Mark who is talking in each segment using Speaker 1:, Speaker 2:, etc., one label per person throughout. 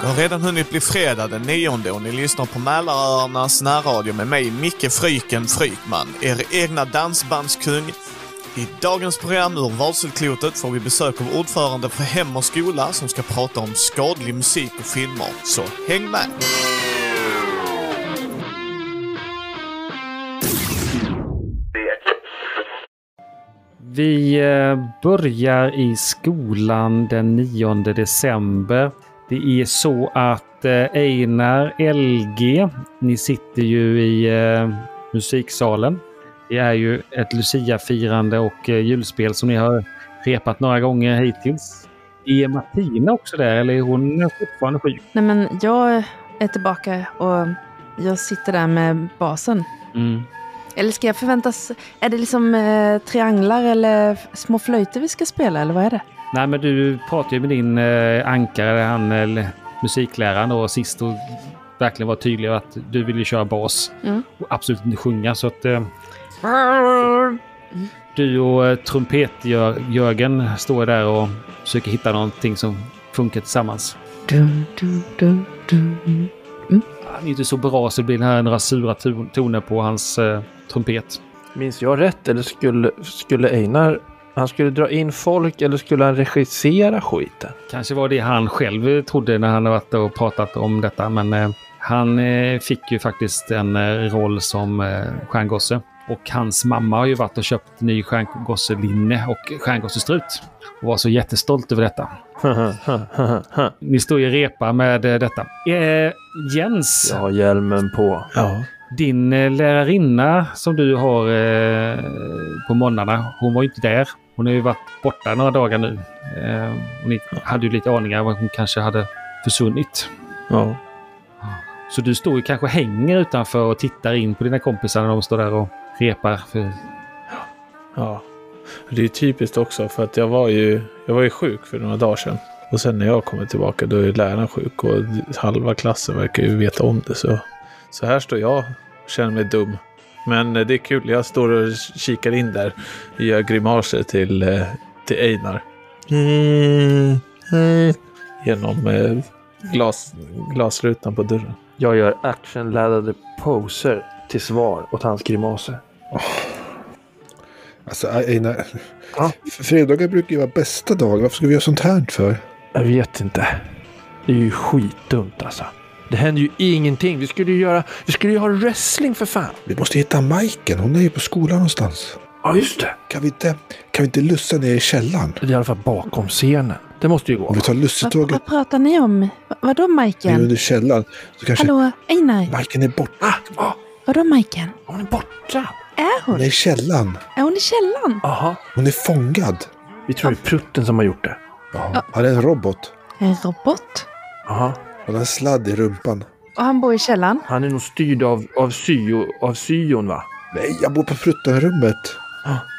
Speaker 1: Det har redan hunnit bli fredag den 9 och ni lyssnar på Mälaröarnas närradio med mig, Micke Fryken Frykman, er egna dansbandskung. I dagens program ur Varselklotet får vi besök av ordförande för Hem och Skola som ska prata om skadlig musik och filmer. Så häng med!
Speaker 2: Vi eh, börjar i skolan den 9 december. Det är så att eh, Einar LG, ni sitter ju i eh, musiksalen. Det är ju ett Lucia-firande och eh, julspel som ni har repat några gånger hittills. Är Martina också där eller är hon fortfarande sjuk?
Speaker 3: Nej men jag är tillbaka och jag sitter där med basen. Eller ska jag förväntas... Är det liksom eh, trianglar eller f- små flöjter vi ska spela eller vad är det?
Speaker 2: Nej, men du pratade ju med din eh, ankare, han eh, musikläraren då, sist och verkligen var tydlig att du ville köra bas
Speaker 3: Mm.
Speaker 2: och absolut inte sjunga. Så att eh, du och eh, trumpetjörgen står där och försöker hitta någonting som funkar tillsammans.
Speaker 3: Dum, dum, dum, dum.
Speaker 2: Han är inte så bra så det blir den här några sura ton- toner på hans eh, trumpet.
Speaker 4: Minns jag rätt eller skulle, skulle Einar... Han skulle dra in folk eller skulle han regissera skiten?
Speaker 2: Kanske var det han själv eh, trodde när han har varit och pratat om detta, men eh, han eh, fick ju faktiskt en eh, roll som eh, stjärngosse. Och hans mamma har ju varit och köpt ny stjärngosselinne och stjärngossestrut. Och var så jättestolt över detta. Ni står ju och repar med eh, detta. Eh, Jens,
Speaker 4: jag har hjälmen på. Ja.
Speaker 2: din eh, lärarinna som du har eh, på månaderna, hon var ju inte där. Hon har ju varit borta några dagar nu. Eh, och ni hade ju lite aningar om att hon kanske hade försvunnit.
Speaker 4: ja.
Speaker 2: Så du står ju kanske och hänger utanför och tittar in på dina kompisar när de står där och repar. För
Speaker 5: Ja. Det är typiskt också för att jag var ju, jag var ju sjuk för några dagar sedan. Och sen när jag kommer tillbaka då är läraren sjuk och halva klassen verkar ju veta om det. Så, så här står jag och känner mig dum. Men eh, det är kul, jag står och kikar in där och gör grimaser till, eh, till Einar. Genom eh, glas, glasrutan på dörren.
Speaker 4: Jag gör actionladdade poser till svar åt hans grimaser.
Speaker 6: Alltså Einar.
Speaker 4: Ja.
Speaker 6: F- Fredagar brukar ju vara bästa dagen. Varför ska vi göra sånt här för?
Speaker 4: Jag vet inte. Det är ju skitdumt alltså. Det händer ju ingenting. Vi skulle ju göra... Vi skulle ju ha wrestling för fan!
Speaker 6: Vi måste hitta Majken. Hon är ju på skolan någonstans.
Speaker 4: Ja, just det.
Speaker 6: Kan vi inte, kan vi inte lussa ner i källaren?
Speaker 4: Det är i alla fall bakom scenen. Det måste ju gå.
Speaker 6: Om vi tar
Speaker 3: Vad,
Speaker 6: lussetåget
Speaker 3: vad pratar ni om? Va- Vadå
Speaker 6: ner
Speaker 3: Majken?
Speaker 6: under källaren så kanske
Speaker 3: Hallå, Einar?
Speaker 6: Majken är borta.
Speaker 4: Ah, ah,
Speaker 3: Vadå Majken?
Speaker 4: hon är borta!
Speaker 3: Är hon?
Speaker 6: Hon är i källaren.
Speaker 3: Är hon i källaren?
Speaker 4: Aha.
Speaker 6: Hon är fångad.
Speaker 4: Vi tror det är prutten som har gjort det.
Speaker 6: Ja. Han är en robot.
Speaker 3: En robot?
Speaker 4: Aha.
Speaker 6: Han har en sladd i rumpan.
Speaker 3: Och han bor i källaren?
Speaker 4: Han är nog styrd av, av, syo, av syon va? Ah,
Speaker 6: Nej, jag bor på fruttenrummet.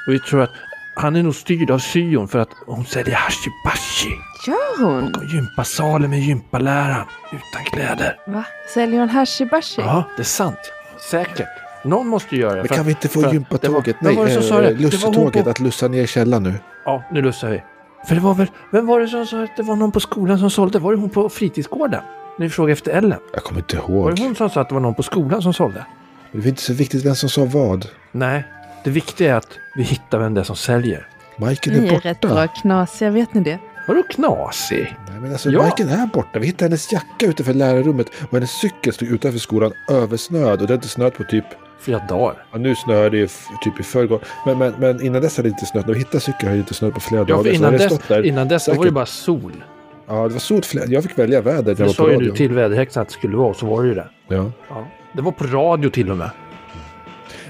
Speaker 4: Och vi tror att han är nog styrd av syon för att hon säljer hashibashi.
Speaker 3: Gör hon?
Speaker 4: Och gympasalen med gympaläraren. Utan kläder.
Speaker 3: Va? Säljer hon hashibashi?
Speaker 4: Ja, det är sant. Säkert. Någon måste göra det.
Speaker 6: Men
Speaker 4: för
Speaker 6: kan
Speaker 4: att-
Speaker 6: vi inte
Speaker 4: för
Speaker 6: få
Speaker 4: att-
Speaker 6: gympatåget?
Speaker 4: det var-
Speaker 6: Nej,
Speaker 4: vem var det som sa
Speaker 6: eh,
Speaker 4: det? Det var hon
Speaker 6: lussetåget
Speaker 4: på-
Speaker 6: att lussa ner i källaren nu.
Speaker 4: Ja, nu lussar vi. För det var väl, vem var det som sa att det var någon på skolan som sålde? Var det hon på fritidsgården? När vi frågade efter Ellen.
Speaker 6: Jag kommer inte
Speaker 4: Var
Speaker 6: ihåg.
Speaker 4: det hon som sa att det var någon på skolan som sålde?
Speaker 6: Det är inte så viktigt vem som sa vad.
Speaker 4: Nej, det viktiga är att vi hittar vem det är som säljer.
Speaker 6: Majken
Speaker 3: Ni
Speaker 6: är
Speaker 3: är rätt
Speaker 6: borta.
Speaker 3: bra knasiga, vet ni det?
Speaker 4: Vadå knasig?
Speaker 6: Nej, men alltså,
Speaker 4: Ja.
Speaker 6: Majken är borta. Vi hittade hennes jacka utanför lärarrummet och hennes cykel stod utanför skolan översnöad. Och det hade inte snöat på typ...
Speaker 4: Flera dagar.
Speaker 6: Ja, nu snöade det ju f- typ i förrgår. Men, men, men innan dess hade det inte snött. När vi hittade cykeln hade det inte snöat på flera
Speaker 4: Ja,
Speaker 6: dagar.
Speaker 4: för
Speaker 6: Så
Speaker 4: innan
Speaker 6: hade det
Speaker 4: dess,
Speaker 6: stått där.
Speaker 4: innan dess då var det
Speaker 6: säkert.
Speaker 4: bara sol.
Speaker 6: Ja, det var soligt. Flera... Jag fick välja väder när
Speaker 4: Det
Speaker 6: jag var
Speaker 4: sa
Speaker 6: på
Speaker 4: ju du
Speaker 6: radion.
Speaker 4: till väderhäxan att det skulle vara, och så var det ju det.
Speaker 6: Ja.
Speaker 4: Ja. Det var på radio till och med.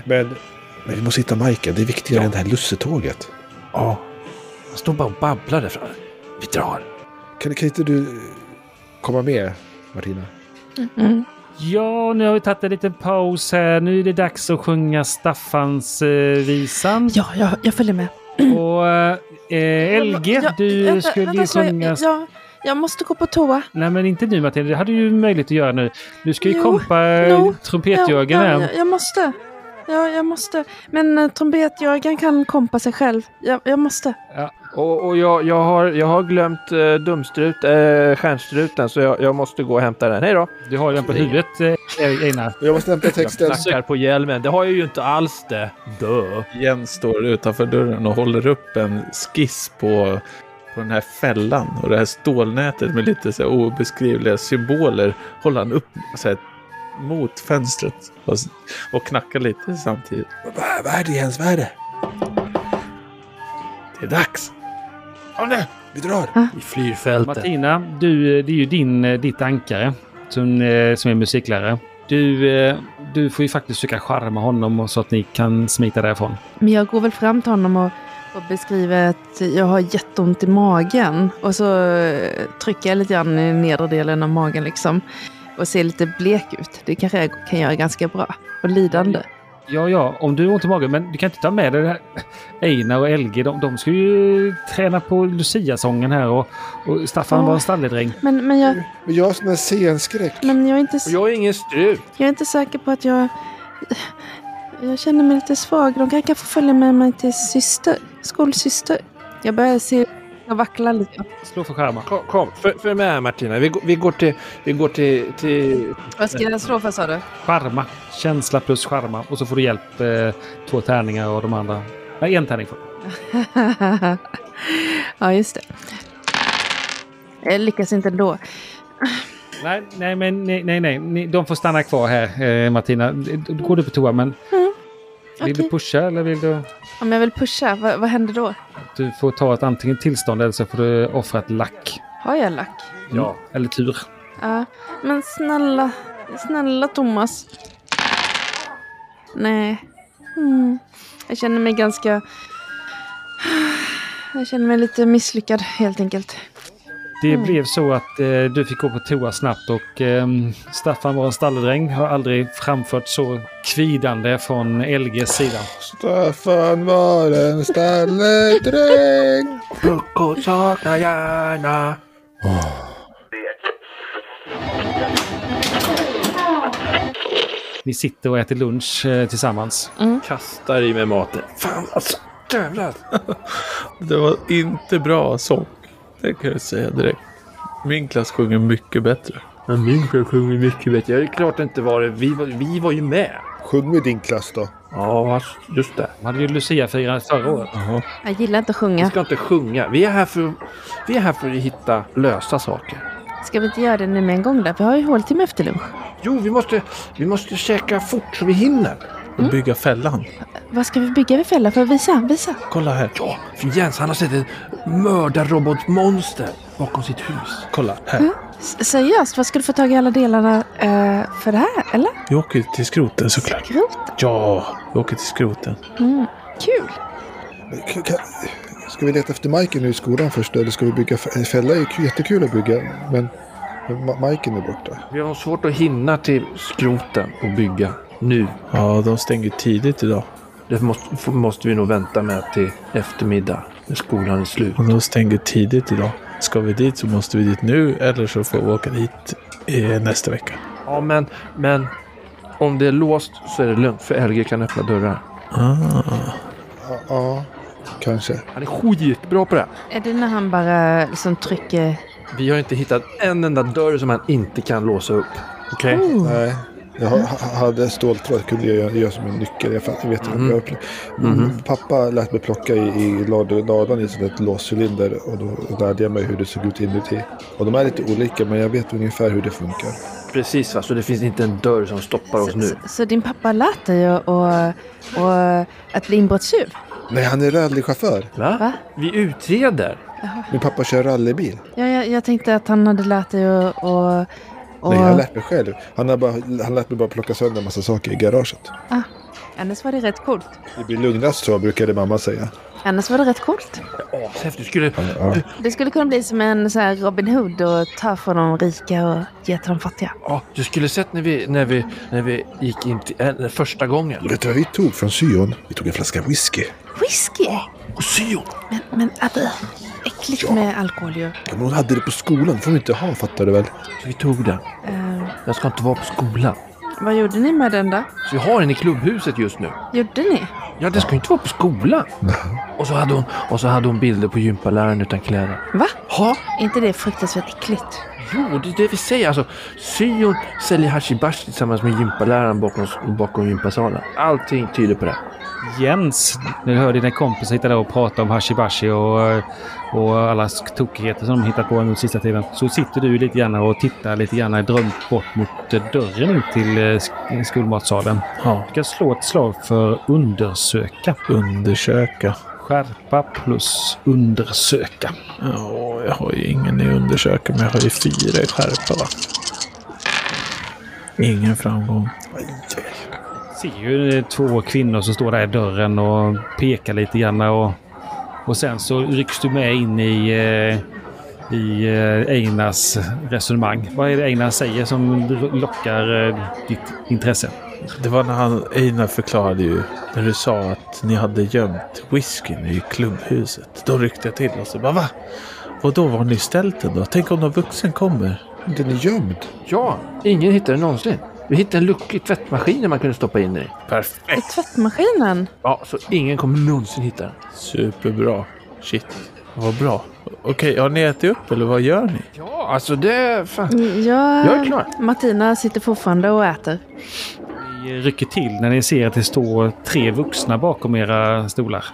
Speaker 6: Men, men vi måste hitta Majken. Det är viktigare
Speaker 4: Ja.
Speaker 6: än det här lussetåget.
Speaker 4: Ja. Han stod bara och babblade fram. Vi drar.
Speaker 6: Kan, kan inte du eh, komma med, Martina?
Speaker 3: Mm.
Speaker 2: ja, nu har vi tagit en liten paus här. Nu är det dags att sjunga Staffans eh, visan.
Speaker 3: Ja, ja, jag följer med.
Speaker 2: Och eh, LG,
Speaker 3: Ja,
Speaker 2: du
Speaker 3: vänta,
Speaker 2: skulle
Speaker 3: vänta,
Speaker 2: ju
Speaker 3: så jag-
Speaker 2: sjunga...
Speaker 3: Jag, jag måste gå på toa.
Speaker 2: Nej, men inte nu Matilda. Det hade du ju möjlighet att göra nu. Du ska ju
Speaker 3: Jo,
Speaker 2: kompa eh,
Speaker 3: jo,
Speaker 2: no, trumpetjörgen
Speaker 3: ja,
Speaker 2: här.
Speaker 3: jag, jag måste. Ja, jag måste. Men eh, trumpetjörgen kan kompa sig själv. Jag, jag måste.
Speaker 2: Ja,
Speaker 4: Och, och jag, jag, har, jag har glömt eh, dumstrut, eh, stjärnstruten så jag, jag måste gå och hämta den. Hej då!
Speaker 2: Du har ju den på huvudet, eh, Einar.
Speaker 6: Jag måste hämta texten.
Speaker 4: Knackar på hjälmen. Det har jag ju inte alls det. Dö.
Speaker 5: Jens står utanför dörren och håller upp en skiss på, på den här fällan. Och det här stålnätet med lite så här obeskrivliga symboler håller han upp så här, mot fönstret och, och knackar lite samtidigt.
Speaker 6: Vad vad är det Jens? Vad är det?
Speaker 5: Det är dags! Kom nu!
Speaker 6: Vi drar.
Speaker 4: I flygfältet.
Speaker 2: Martina, du, det är ju din, eh, ditt ankare som, eh, som är musiklärare. Du, eh, du får ju faktiskt försöka charma honom och så att ni kan smita därifrån.
Speaker 3: Men jag går väl fram till honom och, och beskriver att jag har jätteont i magen. Och så eh, trycker jag lite grann i nedre delen av magen liksom. Och ser lite blek ut. Det kanske jag kan göra ganska bra. Och lidande.
Speaker 2: Ja, ja, om du har ont i magen, men du kan inte ta med dig det här. Einar och LG, de, de ska ju träna på Lucia-sången här och, och Staffan
Speaker 3: Ja.
Speaker 2: var en stalledräng.
Speaker 3: Men, men, jag,
Speaker 6: Men jag har sån här scenskräck.
Speaker 3: men jag, är inte, s-
Speaker 4: Och jag är ingen strut.
Speaker 3: jag är inte säker på att jag... Jag känner mig lite svag. De kanske får följa med mig till syster. Skolsyster. Jag börjar se... Jag vacklar lite.
Speaker 2: Slå för skärmar.
Speaker 4: Kom, kom. För, för med här, Martina. Vi, går- vi går till... Vi går till, till...
Speaker 3: Vad ska jag slå för sa du?
Speaker 2: Charma. Känsla plus charma. Och så får du hjälp. Eh, två tärningar och de andra. Nej, en tärning. får du.
Speaker 3: ja, just det. Jag lyckas inte ändå.
Speaker 2: Nej, nej, men nej, nej, nej. Ni- De får stanna kvar här, eh, Martina. D- d- Går du på toa, men vill
Speaker 3: Mm. Okej.
Speaker 2: du pusha eller vill du?
Speaker 3: Om jag vill pusha, vad, vad händer då?
Speaker 2: Du får ta ett antingen tillstånd eller så får du offra ett lack.
Speaker 3: Har jag lack?
Speaker 2: Ja. Eller tur.
Speaker 3: Ja. Men snälla, snälla Thomas. Nej. Mm. Jag känner mig ganska... Jag känner mig lite misslyckad helt enkelt.
Speaker 2: Det
Speaker 3: Mm.
Speaker 2: blev så att eh, du fick gå på toa snabbt och ehm, Staffan var en stalledräng. Har aldrig framfört så kvidande från LGs sida.
Speaker 6: Staffan var en stalledräng.
Speaker 4: Frukost saknar gärna.
Speaker 2: Ni sitter och äter lunch eh, tillsammans.
Speaker 4: Kastar i mig maten. Fan, alltså. Jävlar.
Speaker 5: Det var inte bra sång. Det kan jag säga direkt. Min klass sjunger mycket bättre.
Speaker 4: Men min själv sjunger mycket bättre. Det är klart det inte var det. Vi var, vi var ju med.
Speaker 6: Sjung med din klass då.
Speaker 4: Ja, just det.
Speaker 2: De hade ju Lucia-firande förra året.
Speaker 3: Jag gillar inte att
Speaker 4: Vi
Speaker 3: sjunga.
Speaker 4: ska inte sjunga. Vi är här för, vi är här för att hitta lösa saker.
Speaker 3: Ska vi inte göra det nu med en gång där? Vi har ju håltimme efter lunch.
Speaker 4: Jo, vi måste, vi måste käka fort så vi hinner.
Speaker 5: Och bygga fällan.
Speaker 3: Vad ska vi bygga vid fälla för? Visa, visa.
Speaker 5: Kolla här.
Speaker 4: Ja, för Jens han har sett ett mördarrobotmonster bakom sitt hus.
Speaker 5: Kolla här.
Speaker 3: S- seriöst, vad ska du få tag i alla delarna eh, för det här? Eller?
Speaker 5: Vi åker till skroten såklart.
Speaker 3: Skrot?
Speaker 5: Ja, vi åker till skroten.
Speaker 3: Mm. Kul!
Speaker 6: K- kan- Ska vi leta efter Majken nu i skolan först eller ska vi bygga f- en fälla? är ju jättekul att bygga men men Ma- Majken är borta.
Speaker 4: Vi har svårt att hinna till skroten och bygga nu.
Speaker 5: Ja, de stänger tidigt idag.
Speaker 4: Det måste, f- måste vi nog vänta med till eftermiddag när skolan är slut.
Speaker 5: Och de stänger tidigt idag. Ska vi dit så måste vi dit nu eller så får vi åka dit eh, nästa vecka.
Speaker 4: Ja, men, men om det är låst så är det lugnt för LG kan öppna dörrar.
Speaker 5: Ah.
Speaker 6: Ja, ja kanske.
Speaker 4: Han är skitbra på det.
Speaker 3: Är det när han bara liksom trycker...
Speaker 4: Vi har inte hittat en enda dörr som han inte kan låsa upp. Mm. Okej?
Speaker 6: Nej. Jag ha- ha- hade ståltråd, kunde jag göra- göra som en nyckel. Jag, fan, jag vet inte om jag upplevde. Pappa lät mig plocka i, i lad- ladan i ett sånt där låscylinder och då lärde jag mig hur det såg ut inuti. Och de är lite olika men jag vet ungefär hur det funkar.
Speaker 4: Precis va, så det finns inte en dörr som stoppar oss
Speaker 3: Så,
Speaker 4: nu.
Speaker 3: så, så din pappa lät dig och, och, och att bli inbrottstjuv?
Speaker 6: Nej, han är rallychaufför.
Speaker 3: Va?
Speaker 4: Vi utreder.
Speaker 6: Min pappa kör rallybil.
Speaker 3: Ja, jag, jag tänkte att han hade lärt dig och... och, och
Speaker 6: Nej, jag har lärt mig själv. Han, har bara, han lät mig bara plocka sönder en massa saker i garaget.
Speaker 3: Ah. Annars var det rätt coolt.
Speaker 6: Det blir lugnast så, brukade mamma säga.
Speaker 3: Annars var det rätt coolt.
Speaker 4: Ashäftigt. Du skulle...
Speaker 6: Ja.
Speaker 3: Det skulle kunna bli som en så här Robin Hood och ta från de rika och ge till de fattiga.
Speaker 4: Ja, du skulle sett när vi, när vi, när vi gick in till, äh, den första gången.
Speaker 6: Vet du vad vi tog från syon? Vi tog en flaska whisky.
Speaker 3: Whisky!
Speaker 4: Och syon!
Speaker 3: Men, men Abbe, äckligt med alkohol ju.
Speaker 6: Ja, men hon hade det på skolan. får vi inte ha, fattar du väl?
Speaker 4: Så vi tog den.
Speaker 3: Eh,
Speaker 4: Jag ska inte vara på skolan.
Speaker 3: vad gjorde ni med den då?
Speaker 4: Så vi har den i klubbhuset just nu.
Speaker 3: Gjorde ni?
Speaker 4: Ja, det ska ju inte vara på skolan. Och så hade hon, och så hade hon bilder på gympaläraren utan kläder.
Speaker 3: Va?
Speaker 4: Ja,
Speaker 3: Är inte det fruktansvärt äckligt?
Speaker 4: jo, det är det vi säger. Alltså, syon säljer hashibashi tillsammans med gympaläraren bakom, bakom gympasalen. Allting tyder på det.
Speaker 2: Jens, när du hör dina kompisar hitta där och prata om hashibashi och, eh, och alla tokigheter som de hittat på nu sista tiden. Så sitter du lite grann och tittar lite grann eh, drömt bort mot eh, dörren ut till eh, sk- skolmatsalen.
Speaker 5: Ja.
Speaker 2: Du kan slå ett slag för undersöka.
Speaker 5: Undersöka.
Speaker 2: Skärpa plus undersöka.
Speaker 5: Ja, jag har ju ingen i undersöka, men jag har ju fyra i skärpa. Va? Ingen framgång.
Speaker 2: ser ju eh, två kvinnor som står där i dörren och pekar lite grann. Och, och sen så rycks du med in i, eh, i eh, Einars resonemang. Vad är det Einar säger som r- lockar eh, ditt intresse?
Speaker 5: Det var när han, Einar förklarade ju, när du sa att ni hade gömt whiskyn i klubbhuset. Då ryckte jag till och så bara va? Och då var ni ställt den då? Tänk om någon vuxen kommer?
Speaker 6: Den är gömd.
Speaker 4: Ja, ingen hittade det någonsin. Vi hittade en lucka i tvättmaskinen man kunde stoppa in i.
Speaker 5: Perfekt!
Speaker 3: I tvättmaskinen?
Speaker 4: Ja, så ingen kommer någonsin hitta den.
Speaker 5: Superbra. Shit. Vad bra. Okej, har ni ätit upp eller vad gör ni?
Speaker 4: Ja, alltså det... Fan.
Speaker 3: Ja,
Speaker 4: Jag är klar.
Speaker 3: Martina sitter fortfarande och äter.
Speaker 2: Ni rycker till när ni ser att det står tre vuxna bakom era stolar.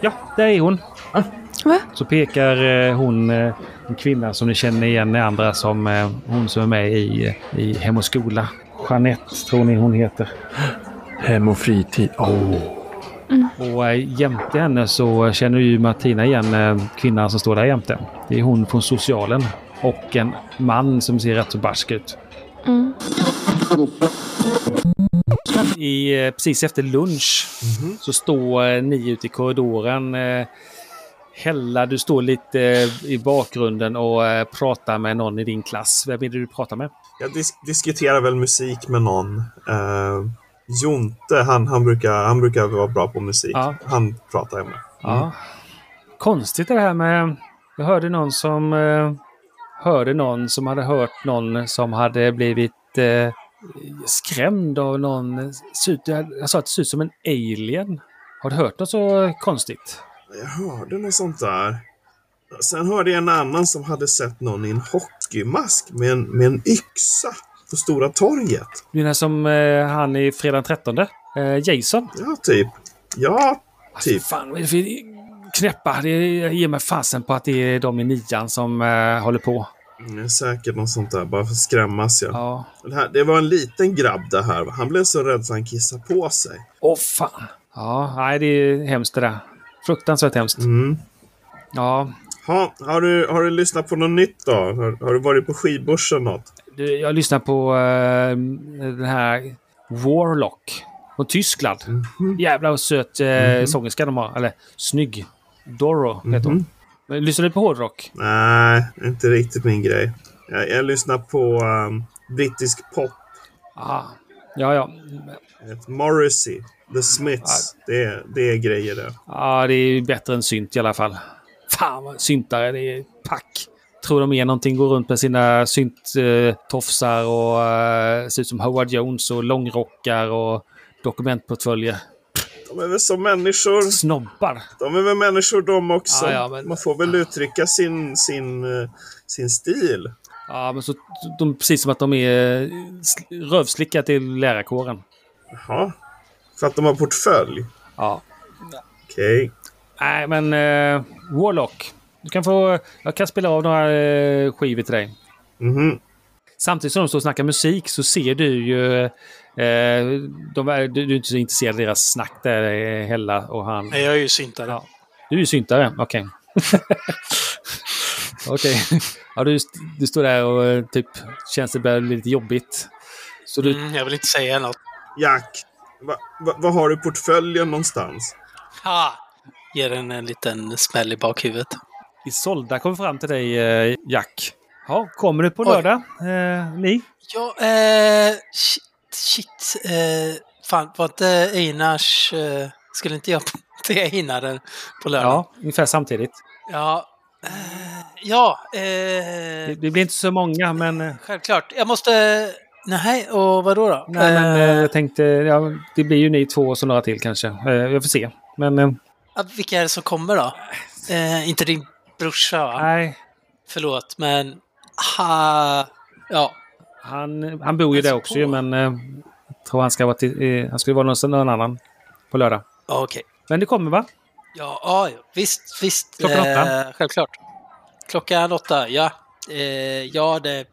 Speaker 2: Ja, där är hon.
Speaker 3: Va?
Speaker 2: Så pekar eh, hon, eh, en kvinna som ni känner igen i andra som eh, hon som är med i, eh, i Hem och Skola. Jeanette tror ni hon heter.
Speaker 4: Hem och fritid. Åh.
Speaker 2: Och eh, jämte henne så känner ju Martina igen eh, kvinnan som står där jämte. Det är hon från socialen. Och en man som ser rätt så barsk ut.
Speaker 3: Mm.
Speaker 2: I, eh, precis efter lunch så står eh, ni ute i korridoren. eh, Hella, du står lite eh, i bakgrunden och eh, pratar med någon i din klass. Vem är det du pratar med?
Speaker 7: Jag dis- diskuterar väl musik med någon. Eh, Jonte, han, han, brukar, han brukar vara bra på musik.
Speaker 2: Ja.
Speaker 7: Han pratar jag med.
Speaker 2: Ja. Konstigt det här med... Jag hörde någon som... Eh, hörde någon som hade hört någon som hade blivit eh, skrämd av någon. Se ut- Jag sa att det ser ut som en alien. Har du hört något så konstigt?
Speaker 7: Jag hörde något sånt där. Sen hörde jag en annan som hade sett någon i en hockeymask med en, med en yxa på Stora torget.
Speaker 2: Du menar som eh, han i Fredag den 13? Eh, Jason? Alltså,
Speaker 7: Ja, typ. Ja, typ.
Speaker 2: Fan, vad är det för knäppa? Det jag ger mig fasen på att det är de i nian som eh, håller på.
Speaker 7: Det är säkert något sånt där, bara för att skrämmas. Ja.
Speaker 2: Ja.
Speaker 7: Det, här, det var en liten grabb det här. va? Han blev så rädd så han kissade på sig.
Speaker 2: Åh fan! Ja, nej, det är hemskt det där. Fruktansvärt hemskt.
Speaker 7: Mm.
Speaker 2: Ja,
Speaker 7: Ha, har, du, har du lyssnat på något nytt då? Har, har du varit på skivbörsen något?
Speaker 2: Du, jag lyssnar på eh, den här Warlock från Tyskland. Jävlar vad söt eh, sångerska de har. Eller snygg. Doro heter hon. Men Lyssnar du på hårdrock?
Speaker 7: Nej, inte riktigt min grej. Jag, jag lyssnar på um, brittisk pop.
Speaker 2: Ah. Ja, ja.
Speaker 7: Ett Morrissey, The Smiths. Det är, det är grejer det.
Speaker 2: Ah, det är bättre än synt i alla fall. Fan vad syntare, det är pack. Tror de är någonting, går runt med sina synttofsar och eh, ser ut som Howard Jones och långrockar och dokumentportföljer.
Speaker 7: De är väl som människor.
Speaker 2: Snobbar.
Speaker 7: De är väl människor de också.
Speaker 2: Ja, ja, men-
Speaker 7: Man får väl uttrycka sin, sin, eh, sin stil.
Speaker 2: Ja, men så, de, precis som att de är eh, sl- rövslicka till lärarkåren.
Speaker 7: Jaha. För att de har portfölj.
Speaker 2: Ja.
Speaker 7: Okej.
Speaker 2: Nej, men eh, Warlock. Du kan få, jag kan spela av några eh, skivor till dig.
Speaker 7: Mhm.
Speaker 2: Samtidigt som de står och snackar musik så ser du ju... Eh, de, är- du, du är inte så intresserad av deras snack där, eh, Hella och han.
Speaker 8: Nej, jag är ju syntare.
Speaker 2: Ja. Du är ju syntare, okej. okej. Ja, du, du står där och eh, typ känns det börjar bli lite jobbigt. Så du
Speaker 8: Mm, jag vill inte säga något.
Speaker 7: Jack. Vad va, va har du portföljen någonstans?
Speaker 8: Ha! Ger den en liten smäll i bakhuvudet.
Speaker 2: Isolda kom fram till dig, eh, Jack. Ja, kommer du på
Speaker 8: Oj.
Speaker 2: lördag? Eh, ni?
Speaker 8: Ja, eh, shit, shit. Eh, fan, var inte Einars... Eh, skulle inte jag till Einaren på lördag?
Speaker 2: Ja, ungefär samtidigt.
Speaker 8: Ja. Ja, eh, ja
Speaker 2: Det,
Speaker 8: eh,
Speaker 2: det blir inte så många, men... eh,
Speaker 8: självklart. Jag måste... Nej, och vadå då?
Speaker 2: Nej, men,
Speaker 8: Eh,
Speaker 2: eh, jag tänkte, ja, det blir ju ni två och så några till kanske. Eh, jag får se. Men eh,
Speaker 8: ja, vilka är det som kommer då? Eh, inte din brorsa va?
Speaker 2: nej,
Speaker 8: Förlåt, men... Ha, ja,
Speaker 2: han, han bor ju
Speaker 8: Alltså,
Speaker 2: där också ju,
Speaker 8: på.
Speaker 2: men eh, jag tror han ska vara till, eh, han skulle vara någonstans någon annan på lördag.
Speaker 8: ja, okej.
Speaker 2: Men det kommer va?
Speaker 8: Ja, ja, ja, visst, visst.
Speaker 2: Klockan åtta.
Speaker 8: Eh, självklart. Klockan åtta, ja. Eh, ja, det...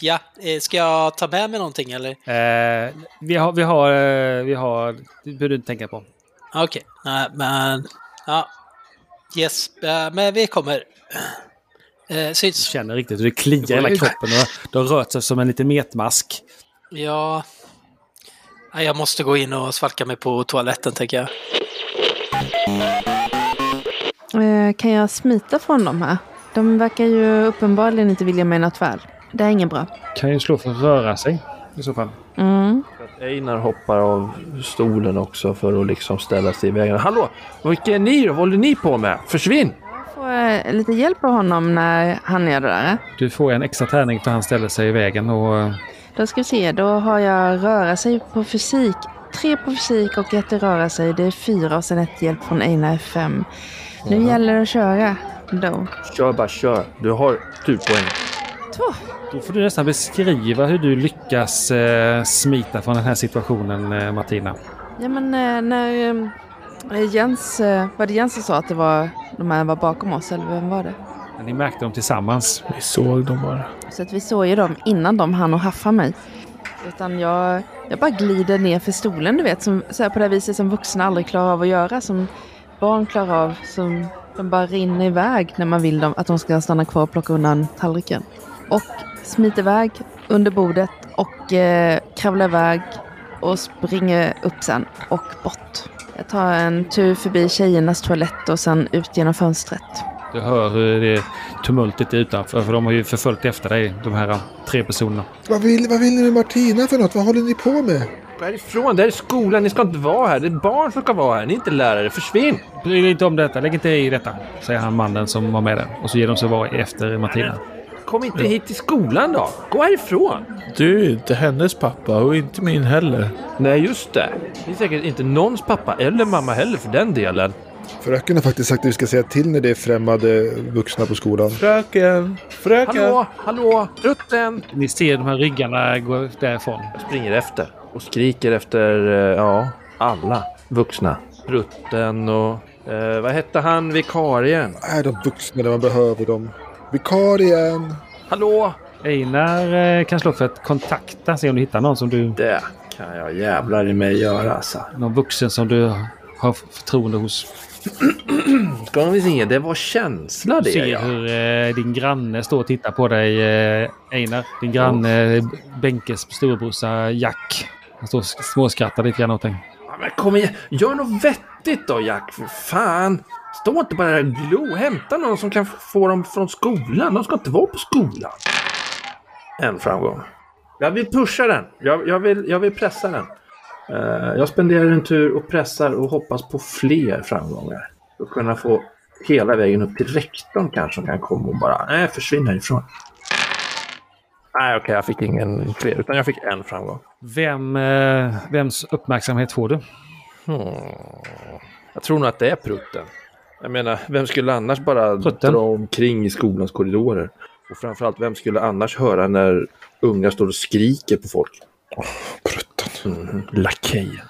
Speaker 8: Ja, eh, ska jag ta med mig någonting eller?
Speaker 2: Eh, vi har, vi har, eh, vi har, det behöver du inte tänka på.
Speaker 8: Okej, nej men... Ja. Yes, eh, men vi kommer. Eh,
Speaker 2: Jag
Speaker 8: syns.
Speaker 2: känner riktigt hur det kliar i hela kroppen och det har rört sig som en liten metmask.
Speaker 8: Ja. Nej, Jag måste gå in och svalka mig på toaletten tänker jag.
Speaker 3: Eh, kan jag smita från dem här? De verkar ju uppenbarligen inte vilja mig något väl. Det är inget bra.
Speaker 2: Kan ju slå för att röra sig i så fall.
Speaker 3: Mm.
Speaker 4: Einar hoppar av stolen också för att liksom ställa sig i vägen. Hallå! Vilka är ni då? Vad håller ni på med? Försvinn!
Speaker 3: Jag får eh, lite hjälp av honom när han gör det där.
Speaker 2: Du får en extra tärning för han ställer sig i vägen och eh,
Speaker 3: Då ska vi se, då har jag röra sig på fysik. Tre på fysik och ett i röra sig. Det är fyra och sen ett hjälp från Einar är fem. Nu gäller det att köra då.
Speaker 4: Kör bara, kör. Du har turpoäng.
Speaker 3: Två.
Speaker 2: Då får du nästan beskriva hur du lyckas eh, smita från den här situationen, eh, Martina.
Speaker 3: Ja men eh, när eh, Jens, eh, var det Jens som sa att det var, de här var bakom oss eller vem var det?
Speaker 2: Men Ni märkte dem tillsammans.
Speaker 5: Vi såg dem bara.
Speaker 3: Så att vi såg ju dem innan de hann och haffa mig. Utan jag, jag bara glider ner för stolen du vet, som, så här på det här viset som vuxna aldrig klarar av att göra, som barn klarar av, som de bara rinner iväg när man vill dem, att de ska stanna kvar och plocka undan tallriken. Och smiter iväg under bordet och eh, kravlar iväg och springer upp sen och bort. Jag tar en tur förbi tjejernas toalett och sen ut genom fönstret.
Speaker 2: Du hör hur det tumultet är utanför, för de har ju förföljt efter dig, de här eh, tre personerna.
Speaker 6: Vad vill, vad vill ni med Martina för något? Vad håller ni på med?
Speaker 4: Gå härifrån! Det här är skolan. Ni ska inte vara här. Det är barn som ska vara här. Ni är inte lärare. Försvinn!
Speaker 2: Bry dig inte om detta, lägg inte i detta, säger han mannen som var med där. Och så ger de sig vara efter Martina.
Speaker 4: Kom inte hit till skolan då! Gå härifrån!
Speaker 5: Du är inte hennes pappa och inte min heller.
Speaker 4: Nej, just det. Det är säkert inte någons pappa eller mamma heller för den delen.
Speaker 6: Fröken har faktiskt sagt att vi ska säga till när det är främmande vuxna på skolan.
Speaker 5: Fröken! Fröken!
Speaker 4: Hallå, hallå, rutten!
Speaker 2: Ni ser de här ryggarna gå därifrån.
Speaker 4: Jag springer efter och skriker efter, eh, ja, alla vuxna. Rutten och... Eh, vad hette han, vikarien?
Speaker 6: Är de vuxna när man behöver dem? Vikarien!
Speaker 4: Hallå!
Speaker 2: Einar eh, kan slå för att kontakta, se om du hittar någon som du...
Speaker 4: Det kan jag jävlar i mig göra alltså.
Speaker 2: Någon vuxen som du har förtroende hos.
Speaker 4: Ska vi se, det var känsla det
Speaker 2: Du ser
Speaker 4: ja.
Speaker 2: hur eh, din granne står och tittar på dig, eh, Einar. Din granne eh, Benkes storebrorsa Jack. Han står och småskrattar lite grann åt dig.
Speaker 4: Ja, Men kom igen, gör något vettigt då Jack, för fan! Stå inte bara där och glo, hämta någon som kan få dem från skolan, de ska inte vara på skolan. En framgång. Jag vill pusha den, jag, jag, vill, jag vill pressa den. Eh, jag spenderar en tur och pressar och hoppas på fler framgångar. För att kunna få hela vägen upp till rektorn kanske som kan komma och bara, nej försvinn härifrån. Nej okej, jag fick ingen fler, utan jag fick en framgång.
Speaker 2: Vem, eh, vems uppmärksamhet får du?
Speaker 4: Jag tror nog att det är prutten. Jag menar, vem skulle annars bara
Speaker 2: Prutten?
Speaker 4: dra omkring i skolans korridorer? Och framförallt, vem skulle annars höra när unga står och skriker på folk? Prutten. Mm, Lakejen.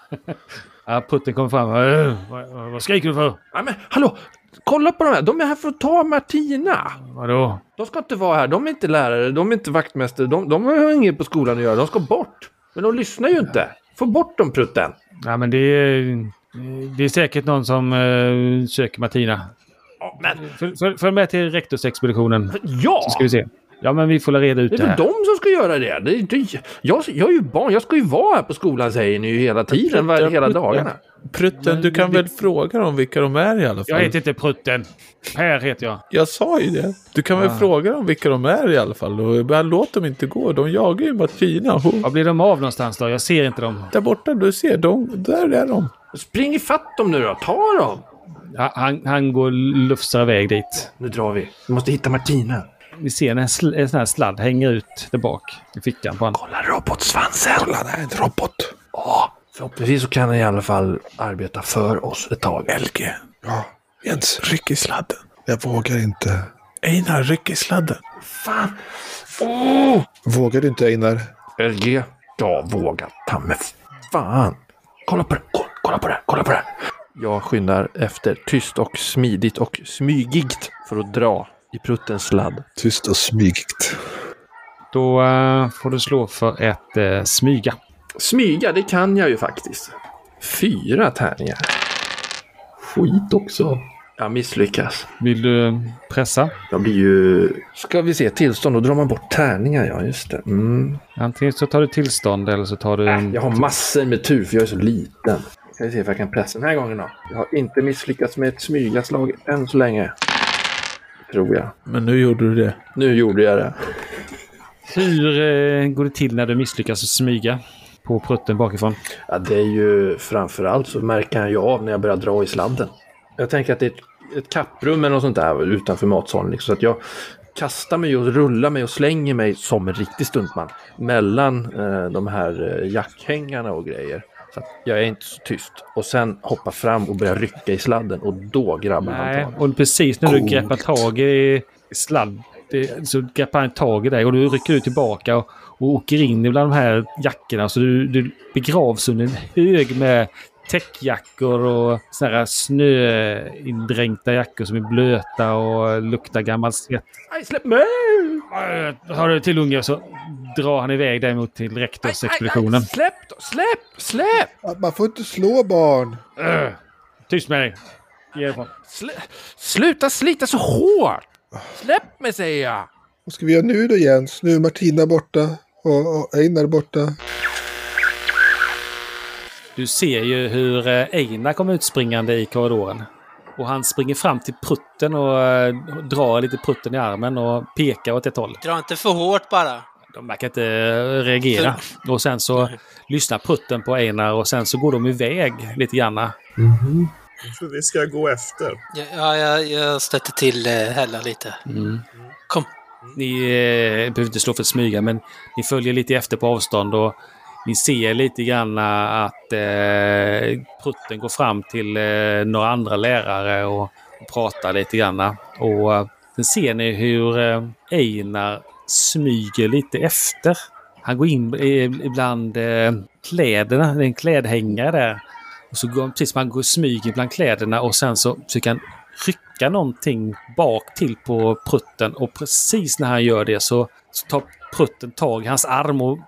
Speaker 2: Ja, putten kommer fram. "Eh, Vad, vad skriker du för?
Speaker 4: Nej men hallå! Kolla på de här, de är här för att ta Martina!
Speaker 2: Vadå?
Speaker 4: De ska inte vara här, de är inte lärare, de är inte vaktmästare, de, de har inget på skolan att göra, de ska bort! Men de lyssnar ju inte! Få bort dem prutten!
Speaker 2: Ja, men det är, det är säkert någon som eh, söker Martina.
Speaker 4: Ja, men
Speaker 2: Följ, följ, följ med till rektorsexpeditionen.
Speaker 4: ja!
Speaker 2: Så ska vi se. Ja, men vi får väl reda ut
Speaker 4: Det är
Speaker 2: det
Speaker 4: väl
Speaker 2: här.
Speaker 4: de som ska göra det? det, är inte- jag, jag är ju barn, jag ska ju vara här på skolan säger ni ju hela tiden, var, hela dagarna.
Speaker 5: Prutten, du kan väl fråga dem vilka de är i alla fall?
Speaker 2: Jag heter inte Prutten. Per heter jag.
Speaker 5: Jag sa ju det. Du kan väl fråga dem vilka de är i alla fall? Och bara låt dem inte gå. De jagar ju Martina. Hon,
Speaker 2: Var blir de av någonstans då? Jag ser inte dem.
Speaker 5: där borta, du ser. De, där är de.
Speaker 4: Spring ifatt dem nu då, ta dem!
Speaker 2: Ha- Han, han går och lufsar iväg dit.
Speaker 4: Nu drar vi, vi måste hitta Martina.
Speaker 2: Ni ser när en, sl- en sån här sladd hänger ut där bak i fickan på honom.
Speaker 4: Kolla robotsvansen!
Speaker 6: Kolla, det är en robot.
Speaker 4: Ja, förhoppningsvis så kan den i alla fall arbeta för oss ett tag.
Speaker 5: LG,
Speaker 6: Ja, Jens.
Speaker 5: ryck i sladden.
Speaker 6: Jag vågar inte.
Speaker 5: Einar, ryck i sladden.
Speaker 4: Fan! Åh!
Speaker 6: Vågar du inte Einar?
Speaker 4: LG, jag vågar ta mig fan. Kolla på det, kolla, kolla på det, kolla på det. Jag skyndar efter tyst och smidigt och smygigt för att dra i pruttens sladd.
Speaker 6: Tyst och smygigt.
Speaker 2: Då eh, får du slå för ett eh, smyga.
Speaker 4: Smyga, det kan jag ju faktiskt. Fyra tärningar. Skit också. Jag misslyckas.
Speaker 2: Vill du eh, pressa?
Speaker 4: Jag blir ju... Ska vi se, tillstånd, då drar man bort tärningar, ja just det. Mm.
Speaker 2: Antingen så tar du tillstånd eller så tar du... en-
Speaker 4: Äh, Jag har massor med tur för jag är så liten. Ska vi se om jag kan pressa den här gången då. Jag har inte misslyckats med ett smygaslag än så länge. Tror jag.
Speaker 5: Men nu gjorde du det.
Speaker 4: Nu gjorde jag det.
Speaker 2: Hur eh, går det till när du misslyckas att smyga på prutten bakifrån?
Speaker 4: Ja, det är ju framförallt så märker jag ju av när jag börjar dra i sladden. Jag tänker att det är ett, ett kapprum eller något sånt där utanför matsalen. Liksom, så att jag kastar mig och rullar mig och slänger mig som en riktig stuntman mellan eh, de här eh, jackhängarna och grejer. Så att jag är inte så tyst. Och sen hoppar fram och börjar rycka i sladden och då grabbar han
Speaker 2: Nej,
Speaker 4: tag.
Speaker 2: och precis när du greppar tag i sladd det- så greppar han tag i dig och du rycker ut tillbaka och, och åker in bland de här jackorna. Så du, du begravs under en hög med täckjackor och såna här snöindränkta jackor som är blöta och luktar gammal svett.
Speaker 4: Aj, släpp mig!
Speaker 2: Har du till unge så drar han iväg dig mot till rektorsexpeditionen.
Speaker 4: Släpp då! Släpp! Släpp!
Speaker 6: Man får inte slå barn.
Speaker 2: Ugh. Tyst med dig! Ge dig ifrån.
Speaker 4: Slä- Sluta slita så hårt! Släpp mig säger jag!
Speaker 6: Vad ska vi göra nu då Jens? Nu är Martina borta och, och Einar borta.
Speaker 2: Du ser ju hur eh, Einar kommer utspringande i korridoren. Och han springer fram till prutten och eh, drar lite prutten i armen och pekar åt ett håll.
Speaker 8: Dra inte för hårt bara.
Speaker 2: De verkar inte eh, reagera. Och sen så lyssnar prutten på Einar och sen så går de iväg lite grann.
Speaker 7: Så vi ska gå efter.
Speaker 8: Ja, ja, jag, jag stötte till eh, Hella lite. Kom.
Speaker 2: Ni eh, behöver inte slå för att smyga men ni följer lite efter på avstånd och ni ser lite grann eh, att eh, prutten går fram till eh, några andra lärare och, och pratar lite grann. Och eh, sen ser ni hur eh, Einar smyger lite efter. Han går in eh, ibland eh, kläderna, det är en klädhängare där. Och så går han, precis som han går och smyger bland kläderna och sen så försöker han rycka någonting bak till på prutten och precis när han gör det så, så tar prutten tag i hans arm och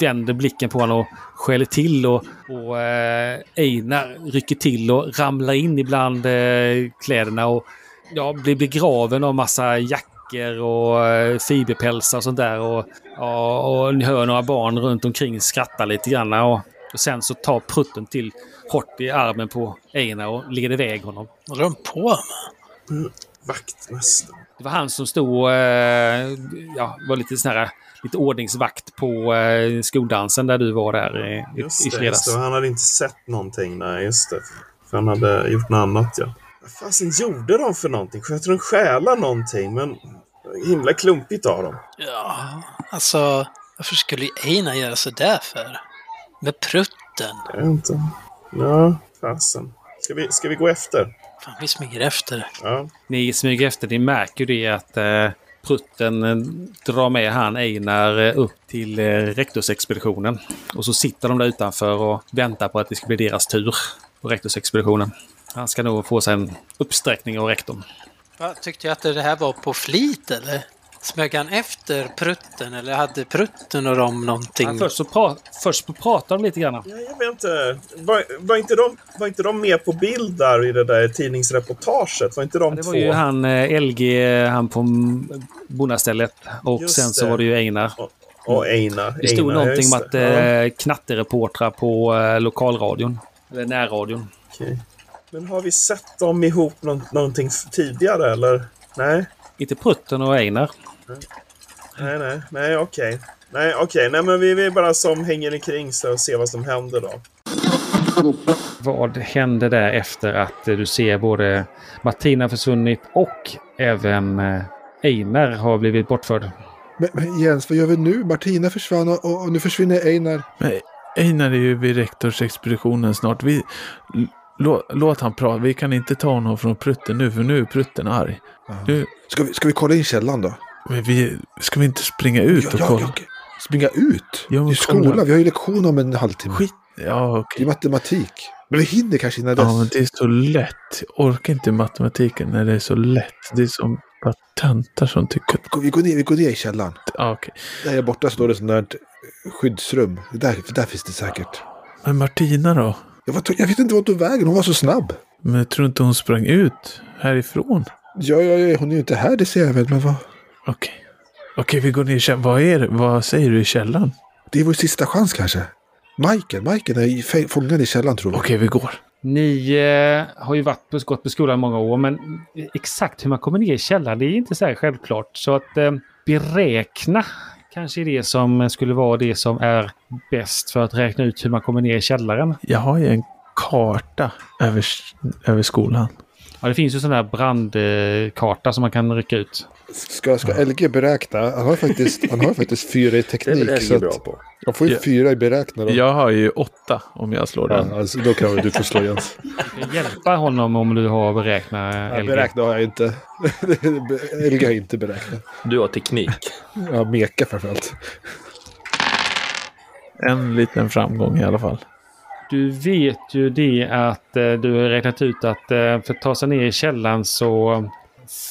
Speaker 2: vänder blicken på honom och skäller till och, och eh, Einar rycker till och ramlar in ibland eh, kläderna och ja, blir begraven av massa jackor och eh, fiberpälsar och sånt där. Och, ja, och ni hör några barn runt omkring skratta lite grann. Och, och sen så tar prutten till hårt i armen på Einar och leder iväg honom.
Speaker 8: Vad håller de på med?
Speaker 7: Vaktmästaren.
Speaker 2: Det var han som stod, eh, ja, var lite sån här, lite ordningsvakt på eh, skoldansen där du var där i, i, i
Speaker 7: Just det, just
Speaker 2: fredags.
Speaker 7: det. Och Han hade inte sett någonting. Nej, just det. För han hade gjort något annat, ja. Vad fasen gjorde de för någonting? Jag tror de stjäla någonting, men himla klumpigt av dem.
Speaker 8: Ja, alltså varför skulle Einar göra sådär för? Med prutten.
Speaker 7: Jag vet inte. Ja, fasen. Ska vi, ska vi gå efter?
Speaker 8: Fan, vi smyger efter.
Speaker 7: Ja.
Speaker 2: Ni smyger efter. Ni märker ju det att eh, prutten eh, drar med han Einar eh, upp till eh, rektorsexpeditionen. Och så sitter de där utanför och väntar på att det ska bli deras tur på rektorsexpeditionen. Han ska nog få sig en uppsträckning av rektorn.
Speaker 8: Va, tyckte jag att det här var på flit eller? Smög han efter prutten eller hade prutten och de någonting?
Speaker 2: Han först, så pra- först så pratar de lite grann.
Speaker 7: Ja, jag vet inte. Var, var, inte de, var inte de med på bild där i det där tidningsreportaget? Var inte de
Speaker 2: Det
Speaker 7: två?
Speaker 2: var ju han eh, LG, han på m- bonnastället. Och
Speaker 7: Just
Speaker 2: sen så
Speaker 7: det.
Speaker 2: var det ju Einar.
Speaker 7: Och Einar.
Speaker 2: Det stod
Speaker 7: Einar, ja,
Speaker 2: någonting
Speaker 7: just
Speaker 2: om
Speaker 7: det.
Speaker 2: att eh, knattereportrar på eh, lokalradion. Eller närradion.
Speaker 7: Okej. Men har vi sett dem ihop nå- någonting f- tidigare eller? Nej,
Speaker 2: Inte Prutten och Einar.
Speaker 7: nej, nej, nej, okej. Nej, okej, nej men vi, vi bara som hänger omkring så och ser vad som händer då.
Speaker 2: Vad hände där efter att eh, du ser både Martina försvunnit och även eh, Einar har blivit bortförd.
Speaker 6: Men, men Jens, vad gör vi nu? Martina försvann och, och, och nu försvinner Einar.
Speaker 5: Men Einar är ju vid rektorsexpeditionen snart. Vi, l- lå, låt han prata. Vi kan inte ta honom från prutten nu, för nu är prutten arg. Nu,
Speaker 6: Ska vi, ska vi kolla in källan då?
Speaker 5: men vi, ska vi inte springa ut och
Speaker 6: Ja, ja,
Speaker 5: kolla?
Speaker 6: ja. Springa ut?
Speaker 5: Ja, men
Speaker 6: Det är
Speaker 5: kolla.
Speaker 6: skola, vi har ju lektion om en halvtimme.
Speaker 5: Skit. Ja,
Speaker 6: Det är
Speaker 5: okej.
Speaker 6: matematik. Men vi hinner kanske innan dess.
Speaker 5: Ja, men det är så lätt. Jag orkar inte matematiken när det är så lätt. Det är som bara töntar som tycker att...
Speaker 6: Gå- Vi går ner, vi går ner i källaren.
Speaker 5: Ja, okej.
Speaker 6: Där borta står det sånt där eh, skyddsrum. Det Där, för där finns det säkert.
Speaker 5: Men Martina då?
Speaker 6: Jag, var, jag vet inte vart tog vägen, hon var så snabb.
Speaker 5: Men jag tror inte hon sprang ut härifrån.
Speaker 6: Ja, ja, ja, hon är ju inte här, det ser jag väl. Men vad?
Speaker 5: Okej. Okej, vi går ner i källaren. Vad, är det? Vad säger du i källaren?
Speaker 6: Det är vår sista chans kanske. Michael, Michael är i fä- fångad i källaren tror jag.
Speaker 5: Okej, vi går.
Speaker 2: Ni eh, har ju varit på, gått på skolan många år, men exakt hur man kommer ner i källaren det är inte så här självklart. Så att eh, beräkna kanske är det som skulle vara det som är bäst för att räkna ut hur man kommer ner i källaren.
Speaker 5: Jag har ju en karta över, över skolan.
Speaker 2: Ja, det finns ju sån här brandkarta som man kan rycka ut.
Speaker 6: Ska, ska LG beräkna? Han har faktiskt, han har faktiskt fyra i
Speaker 4: Det är väl
Speaker 6: teknik. Så
Speaker 4: Elge bra
Speaker 6: att
Speaker 4: på.
Speaker 6: jag får ju
Speaker 5: Ja.
Speaker 6: fyra i beräkna. Då.
Speaker 5: Jag har ju åtta om jag slår den.
Speaker 6: Ja, alltså, då kan du få slå Jens.
Speaker 2: Du kan hjälpa honom om du har beräkna
Speaker 6: Ja,
Speaker 2: LG.
Speaker 6: beräkna har jag inte. LG har inte beräknat.
Speaker 4: Du har teknik.
Speaker 6: Ja, meka framförallt.
Speaker 5: En liten framgång i alla fall.
Speaker 2: Du vet ju det att eh, du har räknat ut att eh, för att ta sig ner i källaren så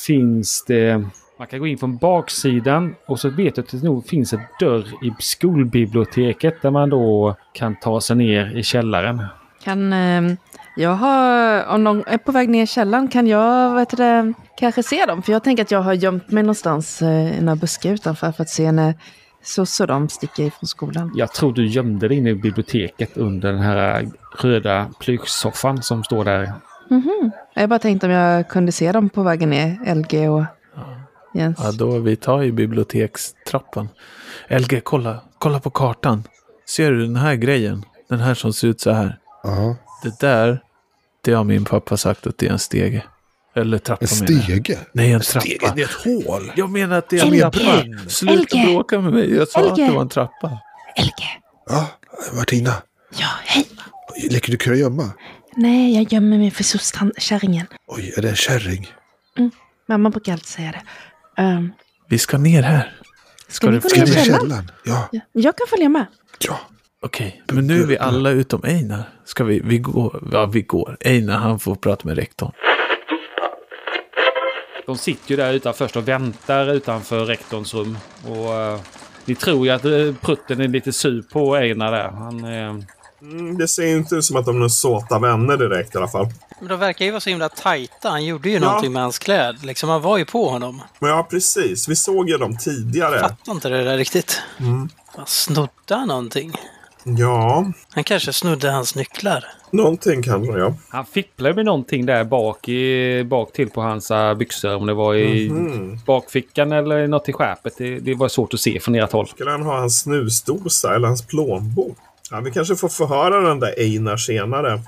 Speaker 2: finns det... Man kan gå in från baksidan och så vet du att det nog finns en dörr i skolbiblioteket där man då kan ta sig ner i källaren.
Speaker 3: Kan eh, jag ha, om någon är på väg ner i källaren, kan jag vad heter det, kanske se dem? För jag tänker att jag har gömt mig någonstans eh, i några buskar utanför för att se när Sus och de sticker ifrån skolan.
Speaker 2: Jag tror du gömde dig inne i biblioteket under den här röda plyschsoffan som står där.
Speaker 3: Mhm. Jag bara tänkte om jag kunde se dem på vägen ner, LG och Jens.
Speaker 5: Ja, då vi tar ju bibliotekstrappan. LG, kolla, kolla på kartan. Ser du den här grejen? Den här som ser ut så här.
Speaker 6: Aha.
Speaker 5: Det där, det har min pappa sagt att det är en stege. Eller trappa
Speaker 6: En
Speaker 5: menar jag.
Speaker 6: stege?
Speaker 5: Nej, en
Speaker 6: Stege,
Speaker 5: trappa.
Speaker 6: det är ett hål.
Speaker 5: Jag menar att det är
Speaker 6: Som i
Speaker 5: en
Speaker 6: en
Speaker 5: trappa.
Speaker 6: brunn.
Speaker 5: Sluta
Speaker 3: LG.
Speaker 5: bråka med mig. Jag sa att
Speaker 3: LG.
Speaker 5: det var en trappa.
Speaker 3: LG!
Speaker 6: Ja, Martina.
Speaker 3: Ja, hej!
Speaker 6: Leker du kurragömma?
Speaker 3: Nej, jag gömmer mig för soskärringen.
Speaker 6: Oj, är det en kärring?
Speaker 3: Mamma brukar alltid säga det. Um,
Speaker 5: Vi ska ner här.
Speaker 3: ska ni
Speaker 5: du-
Speaker 3: gå
Speaker 5: ska
Speaker 6: Ska
Speaker 3: ner
Speaker 6: vi
Speaker 3: i
Speaker 6: i
Speaker 3: källaren?
Speaker 6: källaren? Ja,
Speaker 3: Ja, Jag kan följa med.
Speaker 6: ja.
Speaker 5: Okej, men nu är vi alla utom Einar. Ska vi, vi går, ja vi går. Einar han får prata med rektorn.
Speaker 2: De sitter ju där utan först och väntar utanför rektorns rum. Och eh, ni tror ju att eh, prutten är lite sur på Einar där. Han, eh,
Speaker 7: Mm, det ser ju inte ut som att de är några såta vänner direkt i alla fall.
Speaker 8: Men de verkar ju vara så himla tajta. Han gjorde ju
Speaker 7: Ja.
Speaker 8: någonting med hans kläd. Liksom, han var ju på honom.
Speaker 7: Men ja, precis. Vi såg ju dem tidigare.
Speaker 8: Fattar inte det där riktigt.
Speaker 7: Mm.
Speaker 8: Han snodde han någonting.
Speaker 7: Ja,
Speaker 8: Han kanske snodde hans nycklar.
Speaker 7: någonting kanske ja.
Speaker 2: han fipplade med någonting där bak, i, bak till på hans eh, byxor. Om det var i
Speaker 7: Mm.
Speaker 2: bakfickan eller något i skärpet. Det, det var svårt att se från ert håll.
Speaker 7: Skulle han ha hans snusdosa eller hans plånbok? Ja, vi kanske får förhöra den där Einar senare.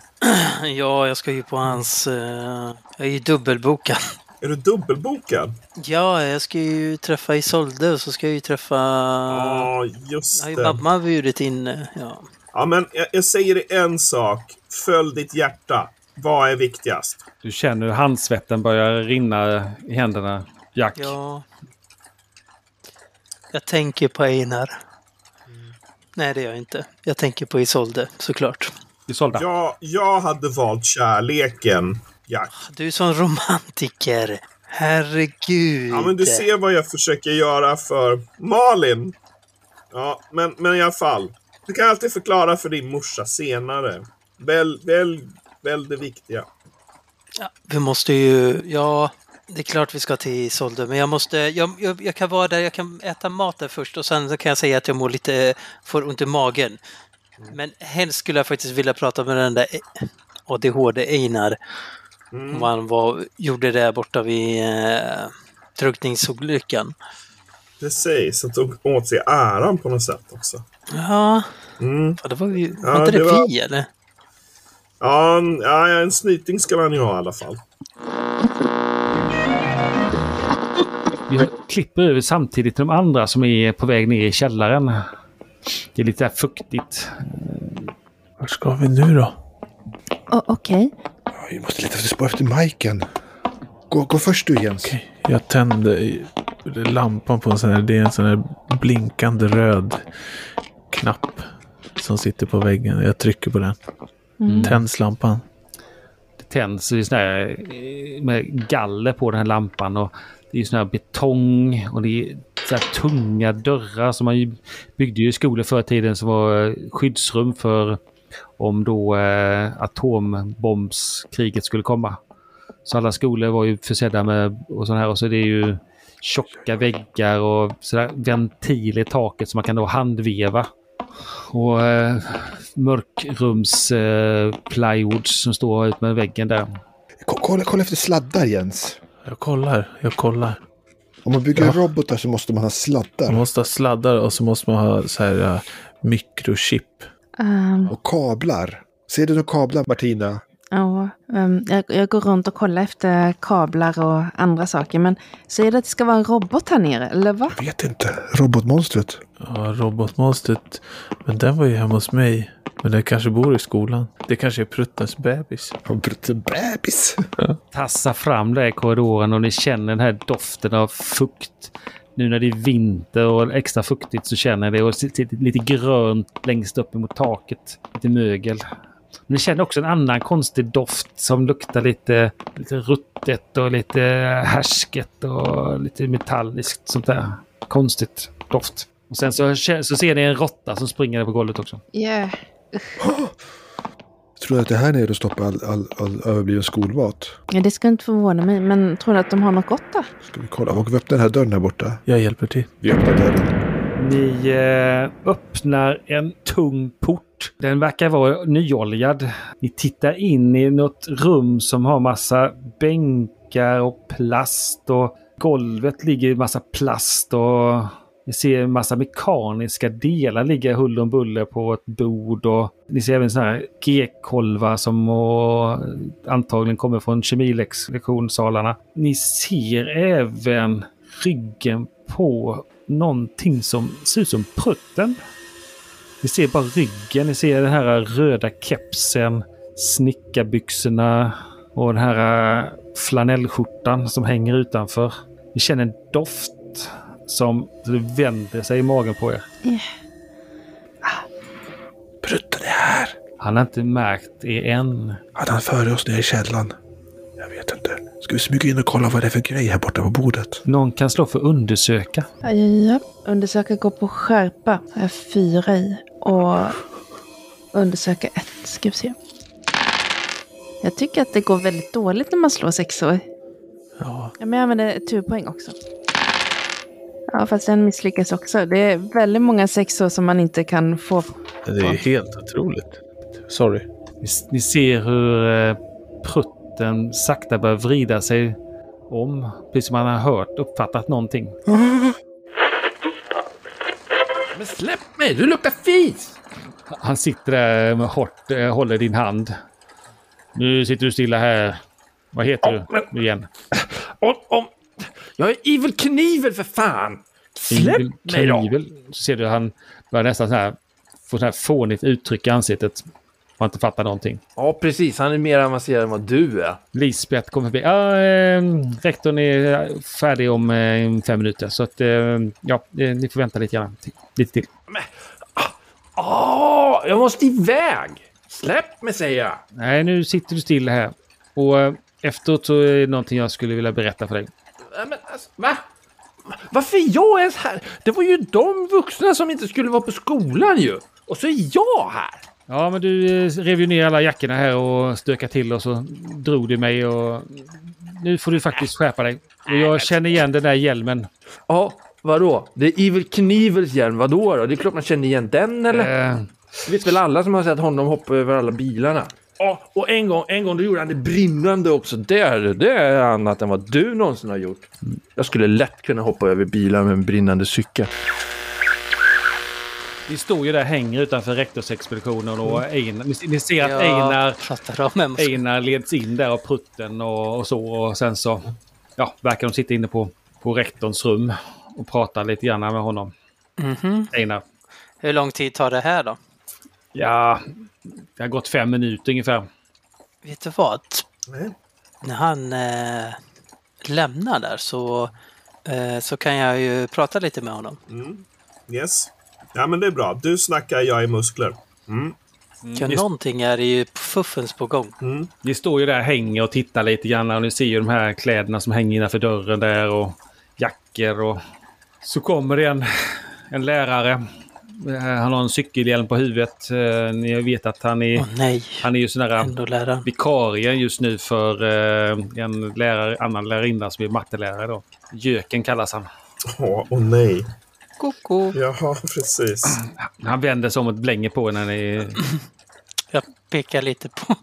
Speaker 8: Ja, jag ska ju på hans... eh, jag är ju dubbelbokad.
Speaker 7: Är du dubbelbokad?
Speaker 8: Ja, jag ska ju träffa Isolde och så ska jag ju träffa...
Speaker 7: Ja,
Speaker 8: Jag
Speaker 7: just
Speaker 8: har ju
Speaker 7: det.
Speaker 8: mamma bjudit in. eh, Ja.
Speaker 7: Ja, men jag, jag säger dig en sak. Följ ditt hjärta. Vad är viktigast?
Speaker 2: Du känner hur handsvetten börjar rinna i händerna. Jack.
Speaker 8: ja. Jag tänker på Einar.
Speaker 7: Mm.
Speaker 8: Nej, det gör jag inte. Jag tänker på Isolde, såklart.
Speaker 2: Isolda.
Speaker 7: Jag, jag hade valt kärleken, Jack.
Speaker 8: Du är sån romantiker. Herregud.
Speaker 7: Ja, men du ser vad jag försöker göra för Malin. Ja, men, men i alla fall. Du kan alltid förklara för din morsa senare. Väl, väl, väl det viktiga.
Speaker 8: Ja, vi måste ju... Ja, det är klart vi ska till Isolde, men jag måste... Jag, jag, jag kan vara där, jag kan äta mat där först och sen så kan jag säga att jag mår lite... Får ont i magen. Men helst skulle jag faktiskt vilja prata med den där E- ADHD-Einar.
Speaker 7: Mm.
Speaker 8: Om han var, gjorde det borta vid eh, drunkningsolyckan.
Speaker 7: Precis, att tog åt sig äran på något sätt också.
Speaker 8: Ja,
Speaker 7: Mm.
Speaker 8: fan, det var ju...
Speaker 7: Ja,
Speaker 8: Var inte det
Speaker 7: det var-
Speaker 8: vi, eller?
Speaker 7: Ja, en, ja, en snyting ska han ju ha i alla fall.
Speaker 2: Vi klipper över samtidigt till de andra som är på väg ner i källaren. Det är lite där fuktigt.
Speaker 5: Vart ska vi nu då?
Speaker 3: O- Okej.
Speaker 6: Ja, Vi måste leta efter spår efter Majken. Gå, gå först du Jens.
Speaker 5: Okej, Jag tände i- lampan på en sån här, det är en sån här blinkande röd knapp som sitter på väggen. Jag trycker på den. Tänds lampan.
Speaker 2: Det tänds det är sån här, eh, med galler på den här lampan. Och det är sån här betong och det är så här tunga dörrar som man ju byggde ju i skolor förr i tiden som var eh, skyddsrum för om då eh, atombombskriget skulle komma. Så alla skolor var ju försedda med och sån här och så är det ju tjocka väggar och sådär ventil i taket som man kan då handveva. Och eh, mörkrums eh, plywood som står ut med väggen där.
Speaker 6: Ko- Kolla, kolla efter sladdar Jens.
Speaker 5: Jag kollar, jag kollar.
Speaker 6: Om man bygger robotar så måste man ha sladdar.
Speaker 5: Man måste ha sladdar och så måste man ha så här eh, mikrochip.
Speaker 3: Ehm,
Speaker 6: Och kablar. Ser du några kablar Martina?
Speaker 3: ja, ehm, jag, jag går runt och kollar efter kablar och andra saker. Men säger det att det ska vara en robot här nere, eller va?
Speaker 6: Jag vet inte. Robotmonstret.
Speaker 5: Ja, robotmonstret. Men den var ju hemma hos mig. Men den kanske bor i skolan. Det kanske är pruttens bebis.
Speaker 6: Har brutit en bebis.
Speaker 2: Tassar fram där i korridoren och ni känner den här doften av fukt. Nu när det är vinter och extra fuktigt så känner ni det och sitter lite grönt längst upp emot taket. Lite mögel. Men ni känner också en annan konstig doft som luktar lite, lite ruttet och lite härsket och lite metalliskt sånt där. Konstigt doft. Och sen så, kä- så ser ni en råtta som springer på golvet också.
Speaker 3: Yeah.
Speaker 6: Tror du att det här nere stoppar all, all, all överbliven skolmat?
Speaker 3: Ja, det ska inte förvåna mig, men tror du att de har något gott där?
Speaker 6: Ska vi kolla? Vågar vi öppna den här dörren här borta?
Speaker 5: Jag hjälper till.
Speaker 6: Vi öppnar dörren.
Speaker 2: Ni eh, öppnar en tung port. Den verkar vara nyoljad. Ni tittar in i något rum som har massa bänkar och plast och golvet ligger i massa plast och ni ser en massa mekaniska delar ligga huller om buller på ett bord och ni ser även sådana här G-kolvar som och, antagligen kommer från kemilektionssalarna. Ni ser även ryggen på någonting som ser ut som prutten. Ni ser bara ryggen, ni ser den här röda kepsen, snickarbyxorna och den här eh, flanellskjortan som hänger utanför. Ni känner en doft som vänder sig i magen på er.
Speaker 6: Brutten är här.
Speaker 2: Han har inte märkt er än.
Speaker 6: Hade han före oss nere i källaren? Jag vet inte. Ska vi smyga in och kolla vad det är för grej här borta på bordet?
Speaker 2: Någon kan slå för undersöka.
Speaker 3: Ja, ja, ja. Undersöka gå på skärpa. Jag har fyra i. Och undersöka ett. Ska vi se. Jag tycker att det går väldigt dåligt när man slår sexor.
Speaker 5: Ja,
Speaker 3: Ja, men jag använder turpoäng också. Ja, fast den misslyckas också. Det är väldigt många sexor som man inte kan få.
Speaker 5: det är ju helt otroligt. Sorry.
Speaker 2: Ni, ni ser hur eh, prutten sakta börjar vrida sig om. Precis som han har hört, uppfattat någonting.
Speaker 4: Men släpp mig, du luktar fis!
Speaker 2: Han sitter där med hårt, eh, håller din hand. Nu sitter du stilla här. Vad heter du igen?
Speaker 4: Om, om... Jag är evil knivel för fan! Släpp
Speaker 2: Ingvild
Speaker 4: mig då!
Speaker 2: Knivel. Så ser du han börjar nästan så här, får så här fånigt uttryck i ansiktet. Man inte fattar någonting.
Speaker 4: Ja, precis. Han är mer avancerad än vad du är.
Speaker 2: Lisbeth kommer förbi. Ja, eh, rektorn är färdig om eh, fem minuter. Så att, eh, ja, eh, ni får vänta lite grann. till- Lite till.
Speaker 4: Åh, Ah, jag måste iväg! Släpp mig, säger jag!
Speaker 2: Nej, nu sitter du still här. Och eh, efteråt så är det någonting jag skulle vilja berätta för dig.
Speaker 4: Nej, men alltså, va? Varför är jag ens här? Det var ju de vuxna som inte skulle vara på skolan ju! Och så är jag här!
Speaker 2: Ja, men du eh, rev ju ner alla jackorna här och stökade till och så drog du mig och... Nu får du faktiskt skärpa dig. Och jag känner igen den där hjälmen.
Speaker 4: Ja, vadå? Det är Evil Knivels hjälm, vadå då? Det är klart man känner igen den eller?
Speaker 2: Eh,
Speaker 4: Det vet väl alla som har sett honom hoppa över alla bilarna? Ja, och en gång, en gång då gjorde han det brinnande också. Det, är- det är annat än vad du någonsin har gjort. Jag skulle lätt kunna hoppa över bilar med en brinnande cykel.
Speaker 2: vi står ju där och hänger utanför rektorsexpeditionen och Einar, ni- ni ser att
Speaker 8: Jag
Speaker 2: Einar,
Speaker 8: pratar om en
Speaker 2: Einar leds in där av prutten och, och så och sen så... Ja, verkar de sitta inne på på rektorns rum och pratar lite grann med honom.
Speaker 8: Mhm.
Speaker 2: Einar.
Speaker 8: Hur lång tid tar det här då?
Speaker 2: Ja, det har gått fem minuter ungefär.
Speaker 8: Vet du vad?
Speaker 7: Nej.
Speaker 8: När han eh, lämnar där så, eh, så kan jag ju prata lite med honom.
Speaker 7: Yes. Ja, men det är bra. Du snackar, jag är muskler. Mm.
Speaker 8: För
Speaker 2: just- Mm.
Speaker 8: någonting är det ju fuffens på gång.
Speaker 2: Ni står ju där, hänger och tittar lite grann och ni ser ju de här kläderna som hänger innanför dörren där och jackor och... Så kommer det en, en lärare. Eh, Han har en cykelhjälm på huvudet. Eh, Ni vet att han är,
Speaker 8: Åh nej,
Speaker 2: han är ju sån där
Speaker 8: ändå läraren.
Speaker 2: vikarie just nu för eh, en lärare, annan lärarinna som är mattelärare då. Jöken kallas han.
Speaker 7: Åh, åh nej.
Speaker 8: Koko.
Speaker 7: Jaha, precis.
Speaker 2: Han vänder sig om och blänger på henne. när ni-
Speaker 8: Jag pekar lite på...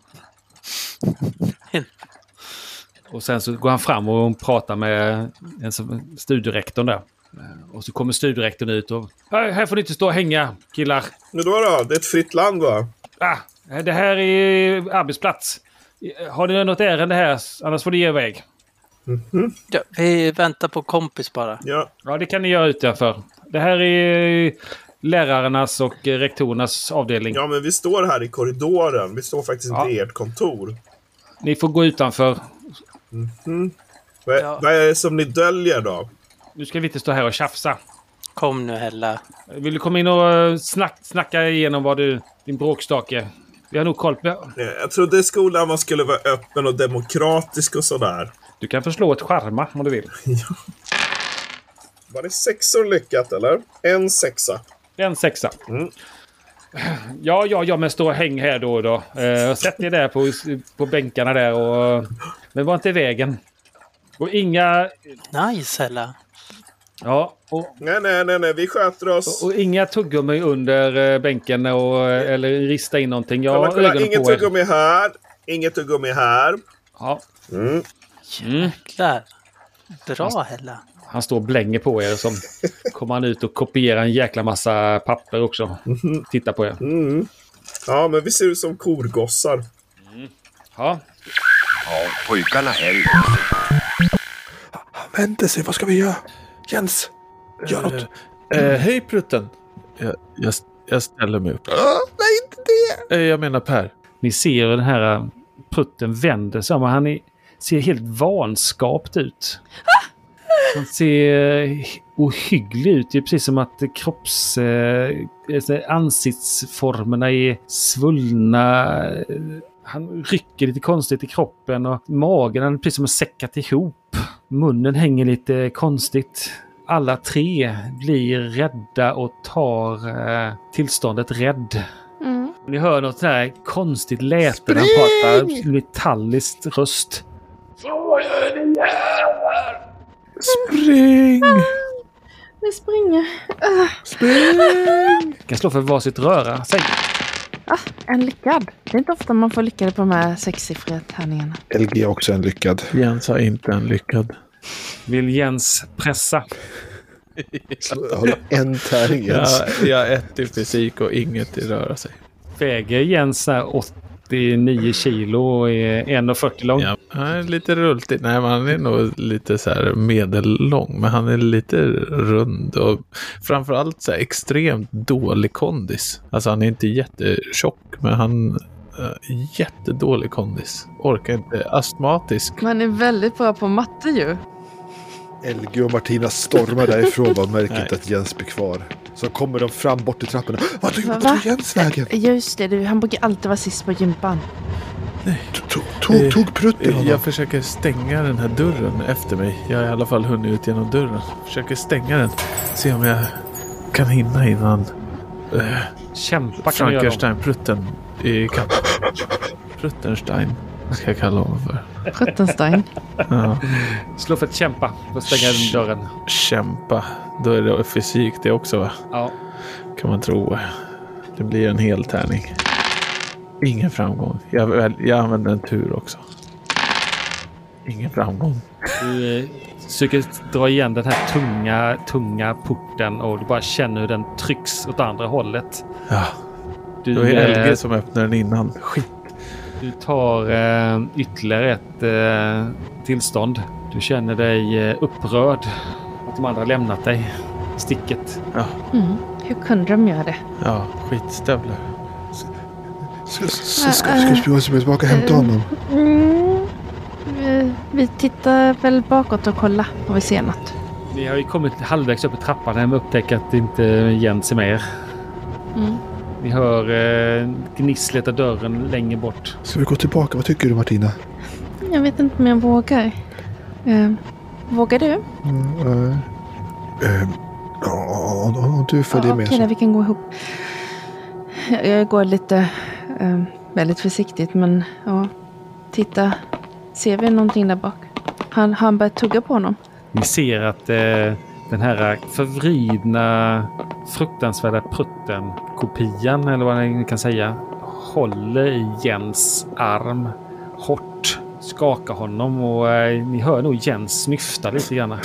Speaker 2: Och sen så går han fram och pratar med en som, studierektorn där. Eh, Och så kommer studierektorn ut och... Här, här får ni inte stå och hänga killar.
Speaker 7: Men då då? Det är ett fritt land va?
Speaker 2: Ah, det här är arbetsplats. Eh, Har ni något ärende här? Annars får ni ge er iväg.
Speaker 8: Ja, vi väntar på kompis bara.
Speaker 7: Ja.
Speaker 2: Ja, det kan ni göra utanför. Det här är lärarnas och rektorernas avdelning.
Speaker 7: ja, men vi står här i korridoren. Vi står faktiskt
Speaker 2: Ja.
Speaker 7: inte i ert kontor.
Speaker 2: Ni får gå utanför.
Speaker 7: Vad,
Speaker 8: Ja.
Speaker 7: vad är det som ni döljer då?
Speaker 2: Nu ska vi inte stå här och tjafsa.
Speaker 8: Kom nu Hella.
Speaker 2: Vill du komma in och eh, snack, snacka igenom vad du... Din bråkstake. Vi har nog koll på...
Speaker 7: Eh, Jag trodde skolan man skulle vara öppen och demokratisk och sådär.
Speaker 2: Du kan förslå ett charma om du vill.
Speaker 7: Var det sexor lyckat eller? En sexa.
Speaker 2: En sexa.
Speaker 7: Mm.
Speaker 2: Ja, ja, ja, men stå och häng här då och då. Eh, sätt er där på, på bänkarna där och... Men var inte i vägen. Och inga...
Speaker 8: Nice Hella.
Speaker 2: Ja, och,
Speaker 7: Nej, nej, nej, nej. Vi sköter oss.
Speaker 2: och inga tuggummi under eh, bänken och, eller rista in någonting. Jag
Speaker 7: kolla,
Speaker 2: har
Speaker 7: kolla.
Speaker 2: ögonen
Speaker 7: Inget
Speaker 2: på er.
Speaker 7: tuggummi här. Inget tuggummi här.
Speaker 2: Ja,
Speaker 7: Mm.
Speaker 8: Jäklar. Bra Hella.
Speaker 2: han står och blänger på er. Som kommer han ut och kopierar en jäkla massa papper också. Titta på er.
Speaker 7: Mm-hmm. Mm. Ja, men vi ser ut som korgossar.
Speaker 2: Ja,
Speaker 9: Pojkarna helg.
Speaker 6: Vänta sig, vad ska vi göra? Jens, gör något.
Speaker 5: Eh, hej Prutten! Jag, jag, jag ställer mig upp. nej, inte det! Eh, jag menar Per.
Speaker 2: Ni ser hur den här eh, prutten vänder sig om och han är, ser helt vanskapt ut. Han ser eh, ohygglig ut. Det är precis som att eh, kropps... Eh, alltså ansiktsformerna är svullna. eh, Han rycker lite konstigt i kroppen och magen han är precis som att säckat ihop. Munnen hänger lite konstigt. Alla tre blir rädda och tar eh, tillståndet rädd.
Speaker 3: Mm.
Speaker 2: Ni hör något sånt här konstigt läte när han pratar metalliskt röst.
Speaker 5: Spring!
Speaker 3: Vi springer.
Speaker 2: Ni kan slå för varsitt röra. Säg.
Speaker 3: En lyckad. Det är inte ofta man får lyckade på de här sexsiffriga tärningarna.
Speaker 6: LG är också en lyckad.
Speaker 5: Jens har inte en lyckad.
Speaker 2: Vill Jens pressa?
Speaker 6: Så Jag har en tärning Jens.
Speaker 5: Jag, jag har ett i fysik och inget i röra sig.
Speaker 2: Väger Jens så här 89 kilo och är 1,40 lång?
Speaker 5: Ja, han är lite rultig. Nej, men han är nog lite så här medellång. Men han är lite rund och framförallt så här extremt dålig kondis. Alltså han är inte jättetjock, men han eh, jättedålig kondis. Orkar inte. Astmatisk.
Speaker 3: Man är väldigt bra på matte ju.
Speaker 6: LG och Martina stormar därifrån och märker
Speaker 5: Nej.
Speaker 6: inte att Jens blir kvar. Så kommer de fram bort i trapporna. Vad tog,
Speaker 3: Va?
Speaker 6: vad tog Jens vägen?
Speaker 3: Just det, du, han brukar alltid vara sist på gympan.
Speaker 6: Tog, tog, tog prutten honom?
Speaker 5: Eh, Jag försöker stänga den här dörren efter mig. Jag har i alla fall hunnit ut genom dörren. Försöker stänga den. Se om jag kan hinna innan eh,
Speaker 2: Kämpa kan du göra. dem.
Speaker 5: Frankenstein-prutten i kapp. Pruttenstein ska jag kalla honom för.
Speaker 3: Pruttenstein.
Speaker 5: Ja.
Speaker 2: Slå för att kämpa. För att stänga dörren.
Speaker 5: Kämpa. Då är det fysik det också va?
Speaker 2: Ja.
Speaker 5: Kan man tro. Det blir en hel tärning. Ingen framgång. Jag, väl, jag använder en tur också. Ingen framgång.
Speaker 2: Du eh, försöker dra igen den här tunga, tunga porten och du bara känner hur den trycks åt andra hållet.
Speaker 5: Ja, det var
Speaker 2: Du,
Speaker 5: ju
Speaker 2: eh,
Speaker 5: LG som öppnade den innan. Skit.
Speaker 2: du tar eh, ytterligare ett eh, tillstånd. Du känner dig eh, upprörd att de andra har lämnat dig. Sticket.
Speaker 3: Mm. Hur kunde de göra det?
Speaker 5: Ja, skitstövlar.
Speaker 6: Ska, ska, ska, ska spionen tillbaka och hämta honom?
Speaker 3: Mm. Vi, vi tittar väl bakåt och kollar om vi ser något.
Speaker 2: Ni har ju kommit halvvägs upp i trappan när ni upptäcker att det inte Jens är med er.
Speaker 3: Mm.
Speaker 2: Ni hör eh, gnisslet av dörren längre bort.
Speaker 6: Ska vi gå tillbaka? Vad tycker du Martina?
Speaker 3: Jag vet inte om jag vågar. Eh, vågar du?
Speaker 6: Mm, eh, eh, ja, om- om du följer
Speaker 3: Ja,
Speaker 6: med
Speaker 3: Okej,
Speaker 6: så...
Speaker 3: då, vi kan gå ihop. Jag- Jag går lite eh, väldigt försiktigt, men ja. Titta, ser vi någonting där bak? Han, han börjar tugga på honom.
Speaker 2: Ni ser att eh, den här förvridna, fruktansvärda prutten-kopian, eller vad ni kan säga, håller i Jens arm hårt. Skakar honom och eh, ni hör nog Jens snyfta lite grann.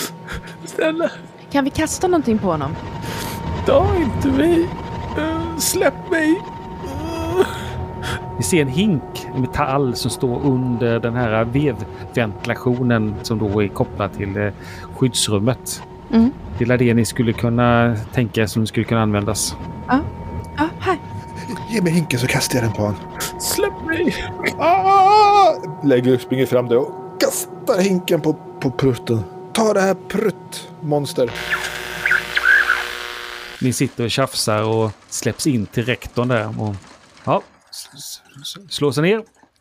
Speaker 5: Snälla,
Speaker 3: Kan vi kasta någonting på honom?
Speaker 5: ta inte mig! Eh, Släpp mig!
Speaker 2: Ni ser en hink i metall som står under den här vevventilationen som då är kopplad till eh, skyddsrummet.
Speaker 3: Mm.
Speaker 2: Det är det ni skulle kunna tänka som skulle kunna användas.
Speaker 3: Ja, här.
Speaker 6: Ge mig hinken så kastar jag den på honom.
Speaker 5: Släpp mig!
Speaker 6: Ah! Lägger, springer fram där och kastar hinken på, på prutten. Ta det här pruttmonster.
Speaker 2: Ni sitter och tjafsar och släpps in till rektorn där. Och, ja, s- s- s- slå sig ner.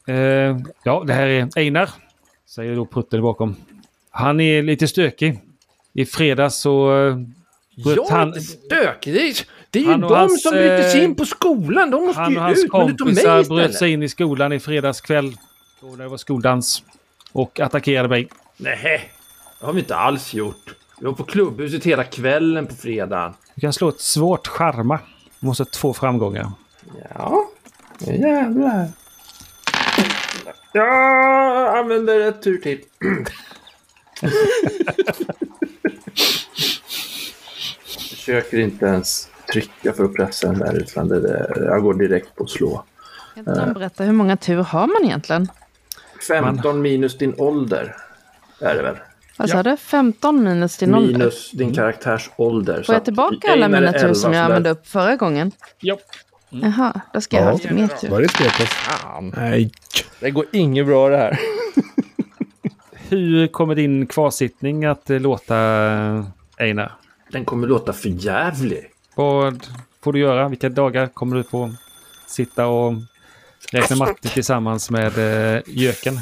Speaker 2: Eh, ja, det här är Einar, säger då Prutten bakom. Han är lite stökig. I fredags så... eh, bröt
Speaker 4: Jag är
Speaker 2: han,
Speaker 4: inte stökig. Det är, det är ju
Speaker 2: Han och
Speaker 4: de
Speaker 2: hans,
Speaker 4: som bryter sig
Speaker 2: eh,
Speaker 4: in på skolan. De måste
Speaker 2: han och
Speaker 4: ju
Speaker 2: hans
Speaker 4: ut. Men du tog mig
Speaker 2: kompisar bröt
Speaker 4: istället.
Speaker 2: sig in i skolan i fredags kväll. Då när det var skoldans. Och attackerade mig.
Speaker 4: Nej, det har vi inte alls gjort. Vi var på klubbhuset hela kvällen på fredagen.
Speaker 2: Du kan slå ett svårt charma. Du måste ha två framgångar.
Speaker 4: Ja, jävlar. Jag använder ett tur till. Försöker inte ens trycka för att pressa den där utan det där, jag går direkt på slå.
Speaker 3: Kan inte någon berätta hur många tur har man egentligen?
Speaker 4: 15 minus din ålder är det väl?
Speaker 3: Vad sa du? 15 minus din ålder?
Speaker 4: Minus din karaktärs ålder.
Speaker 3: Får jag tillbaka alla mina tur som jag använde upp förra gången?
Speaker 2: Ja.
Speaker 3: Jaha, då ska jag ha lite mer tur.
Speaker 6: Var det ett spelpass?
Speaker 5: Nej,
Speaker 4: Det går inget bra det här.
Speaker 2: Hur kommer din kvarsittning att eh, låta eh, Einar?
Speaker 4: Den kommer låta för jävlig.
Speaker 2: Vad får du göra? Vilka dagar kommer du få sitta och räkna matte tillsammans med eh, göken?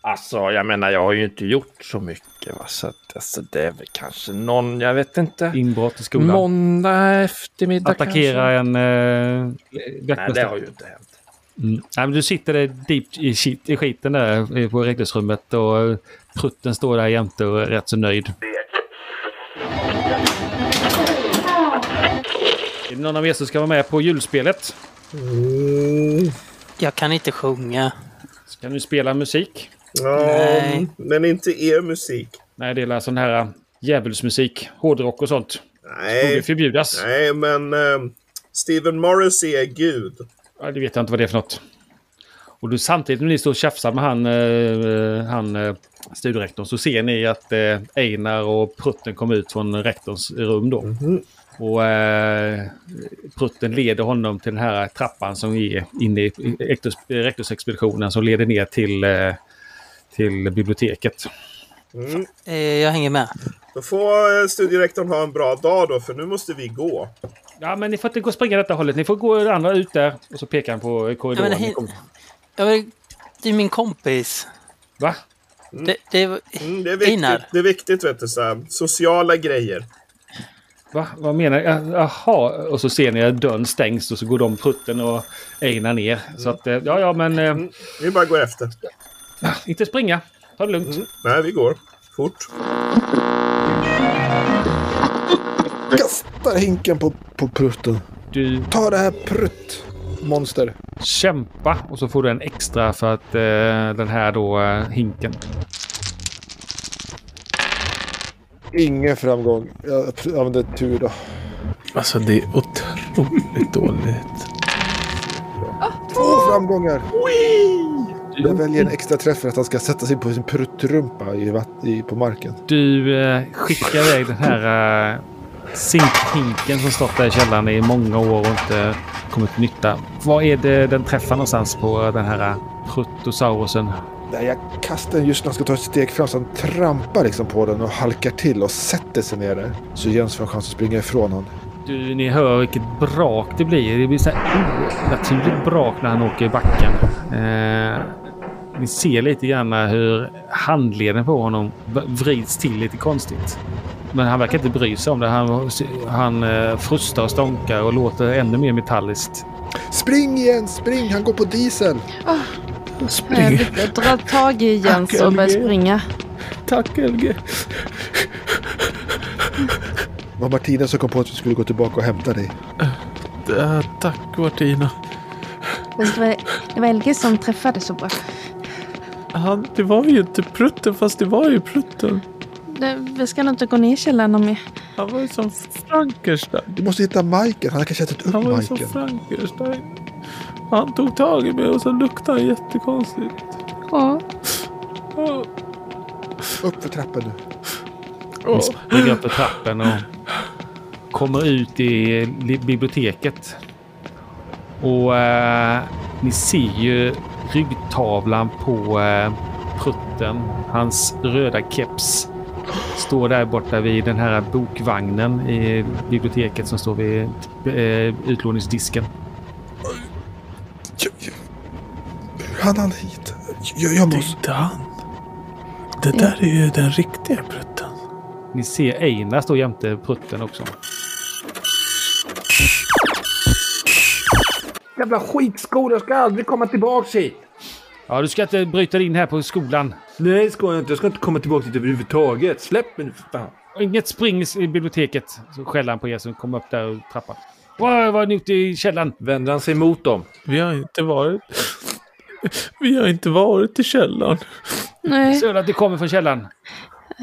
Speaker 4: Alltså, jag menar, jag har ju inte gjort så mycket. Va? Så att, alltså, det är väl kanske någon, jag vet inte.
Speaker 2: Inbrott i skolan?
Speaker 4: Måndag eftermiddag
Speaker 2: Attackera
Speaker 4: kanske?
Speaker 2: en eh,
Speaker 4: Nej, det
Speaker 2: vaktmästare?
Speaker 4: har ju inte hänt.
Speaker 2: Mm. Nej, men du sitter där deep i, shit, i skiten där eh, på rektorsrummet och eh, prutten står där jämte och är rätt så nöjd. Är det någon av er som ska vara med på julspelet?
Speaker 8: Jag kan inte sjunga.
Speaker 2: Så kan du spela musik.
Speaker 8: Nej.
Speaker 7: Ja, men inte er musik.
Speaker 2: Nej, det är sån här eh, djävulsmusik, hårdrock och sånt. Borde
Speaker 7: Nej,
Speaker 2: förbjudas.
Speaker 7: Eh, nej men eh, Stephen Morrissey är gud.
Speaker 2: Ja, det vet jag inte vad det är för något. Och du, samtidigt när ni står och tjafsar med han, eh, han eh, studierektorn så ser ni att eh, Einar och Prutten kommer ut från rektorns rum då. Och eh, Prutten leder honom till den här trappan som är inne i i rektors, i rektorsexpeditionen som leder ner till, eh, till biblioteket.
Speaker 7: Mm.
Speaker 8: Eh, Jag hänger med.
Speaker 7: Då får eh, studierektorn ha en bra dag då, för nu måste vi gå.
Speaker 2: Ja, men ni får inte gå och springa detta hållet. Ni får gå det andra ut där. Och så pekar han på korridoren.
Speaker 8: Ja, men det-
Speaker 2: Ni kommer-
Speaker 8: Ja, men Det är min kompis.
Speaker 2: Va?
Speaker 8: Det, det var...
Speaker 7: Mm, det är viktigt,
Speaker 8: Einar.
Speaker 7: det är viktigt vet du, så här, sociala grejer.
Speaker 2: Va? Vad menar jag? Jaha. Och så ser ni att dörren stängs och så går de prutten och Einar ner. Så att, eh, ja, ja, men eh,
Speaker 7: Vi bara går efter.
Speaker 2: inte springa. Ta det lugnt.
Speaker 7: Nej, vi går. Fort.
Speaker 6: Kastar hinken på, på prutten.
Speaker 2: Du
Speaker 6: Ta det här pruttmonster.
Speaker 2: kämpa och så får du en extra för att eh, den här då eh, hinken.
Speaker 6: Ingen framgång. Jag pr- använde tur då.
Speaker 5: alltså det är otroligt dåligt.
Speaker 6: Två framgångar. Jag väljer en extra träff för att han ska sätta sig på sin pruttrumpa i vatt- i, på marken.
Speaker 2: Du eh, skickar iväg den här eh, zinkhinken som stått där i källaren i många år och inte kommit till nytta. Vad är det den träffar någonstans på eh, den här eh, Prutosaurusen?
Speaker 6: Nej, jag kastar den just när han ska ta ett steg fram så han trampar liksom på den och halkar till och sätter sig ner där. Så Jens får en chans att springa ifrån honom.
Speaker 2: Du, ni hör vilket brak det blir. Det blir så här onaturligt brak när han åker i backen. Eh, ni ser lite grann hur handleden på honom v- vrids till lite konstigt. Men han verkar inte bry sig om det. Han, han eh, frustar och stånkar och låter ännu mer metalliskt.
Speaker 6: Spring igen, spring! Han går på diesel!
Speaker 3: Jag, jag drar tag i Jens och börjar springa.
Speaker 5: Tack Helge!
Speaker 6: Det var Martina som kom på att vi skulle gå tillbaka och hämta dig.
Speaker 5: Äh, tack Martina.
Speaker 3: Det var, det var LG som träffade så bra.
Speaker 5: Han, det var ju inte prutten fast det var ju prutten.
Speaker 3: Det, vi ska nog inte gå ner i källaren om vi...
Speaker 5: Han var ju som Frankenstein.
Speaker 6: Du måste hitta Michael, han har kanske ätit upp
Speaker 5: Han var ju som
Speaker 6: Michael.
Speaker 5: Frankenstein. Han tog tag i mig och sen luktade han jättekonstigt.
Speaker 3: Ja.
Speaker 5: Åh,
Speaker 6: Upp för trappen nu.
Speaker 5: åh.
Speaker 2: Springer upp för trappen och kommer ut i li- biblioteket. Och eh, ni ser ju ryggtavlan på eh, prutten. Hans röda keps står där borta vid den här bokvagnen i biblioteket som står vid eh, utlåningsdisken.
Speaker 6: Jag- jag- Hur hann han hit? Jag, jag
Speaker 5: Det
Speaker 6: måste...
Speaker 5: är inte han. Det där är ju den riktiga prutten.
Speaker 2: Ni ser Einar stå jämte prutten också.
Speaker 4: Jävla skitskola, ska aldrig komma tillbaks hit!
Speaker 2: Ja, du ska inte bryta dig in här på skolan.
Speaker 4: Nej, ska jag inte. Jag ska inte komma tillbaks hit överhuvudtaget. Släpp mig nu för fan.
Speaker 2: Inget spring i biblioteket. Så skäller han på er som kommer upp där och trappan. Wow, vad nytt i källaren.
Speaker 4: Vänder han sig mot dem?
Speaker 5: Vi har inte varit... Vi har inte varit i källaren.
Speaker 3: Nej.
Speaker 2: Synd att det kommer från källaren.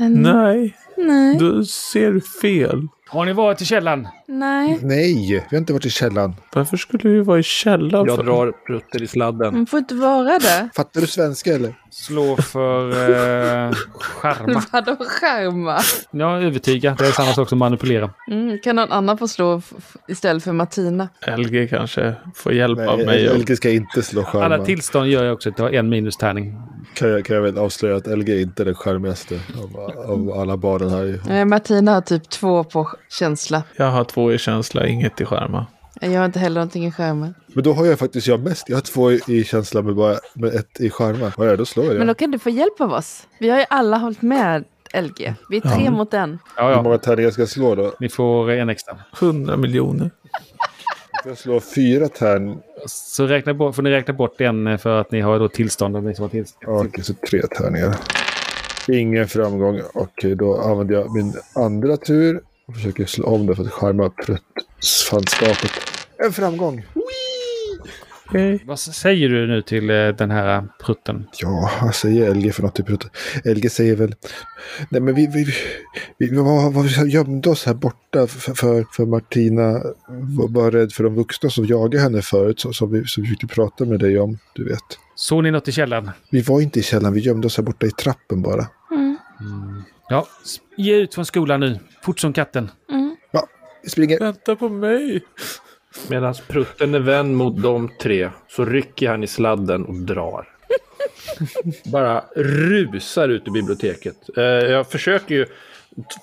Speaker 5: Nej,
Speaker 3: Nej.
Speaker 5: då ser du fel.
Speaker 2: Har ni varit i källaren?
Speaker 3: Nej.
Speaker 6: Nej, vi har inte varit i källaren.
Speaker 5: Varför skulle vi vara i källaren?
Speaker 4: Jag
Speaker 5: för?
Speaker 4: drar prutter i sladden.
Speaker 3: Man får inte vara det.
Speaker 6: Fattar du svenska eller?
Speaker 2: Slå för eh, charma.
Speaker 3: Vadå skärma?
Speaker 2: Ja, övertyga. Det är samma sak som manipulera.
Speaker 3: Mm, kan någon annan få slå f- f- istället för Martina?
Speaker 5: LG kanske får hjälp av mig.
Speaker 6: Nej, LG ska inte slå skärmar.
Speaker 2: Alla tillstånd gör jag också att jag har en minustärning.
Speaker 6: Kan jag, kan jag väl avslöja att LG är inte är den charmigaste av, av alla barnen här. ju.
Speaker 3: Nej, Martina har typ två på känsla.
Speaker 5: Jag har två i känsla, inget i skärma.
Speaker 3: Jag har inte heller någonting i skärmen.
Speaker 6: Men då har jag faktiskt jag mest. Jag har två i- i känsla men bara med ett i skärmar. Ja, ja, då slår jag.
Speaker 3: Men då kan du få hjälp av oss. Vi har ju alla hållit med LG. Vi är tre mot en.
Speaker 2: Ja,
Speaker 6: Hur
Speaker 2: ja.
Speaker 6: många tärningar ska jag slå då?
Speaker 2: Ni får en extra.
Speaker 5: 100 miljoner.
Speaker 6: Får jag slå fyra tärn?
Speaker 2: Så räkna bort, får ni räkna bort en eh, för att ni har då tillstånd. Om ni som har tillstånd.
Speaker 6: Ja, Okej, så tre tärningar. Ingen framgång. Okej, då använder jag min andra tur och försöker slå om det för att skärma pruttfanskapet. En framgång!
Speaker 5: Okej.
Speaker 2: Vad säger du nu till eh, den här eh, prutten?
Speaker 6: Ja, vad säger LG för något i prutten? LG säger väl... Nej, men vi, vi, vi, vi, var, var, vi gömde oss här borta för, för, för Martina var, var rädd för de vuxna som jagade henne förut, som, som vi som vi försökte prata med dig om, du vet.
Speaker 2: Såg ni något i källaren?
Speaker 6: Vi var inte i källaren, vi gömde oss här borta i trappen bara.
Speaker 2: Ja, ge ut från skolan nu. Fort som katten.
Speaker 6: Vi springer.
Speaker 5: Vänta på mig!
Speaker 4: Medan prutten är vänd mot de tre så rycker han i sladden och drar. Bara rusar ut ur biblioteket. Eh, Jag försöker ju t-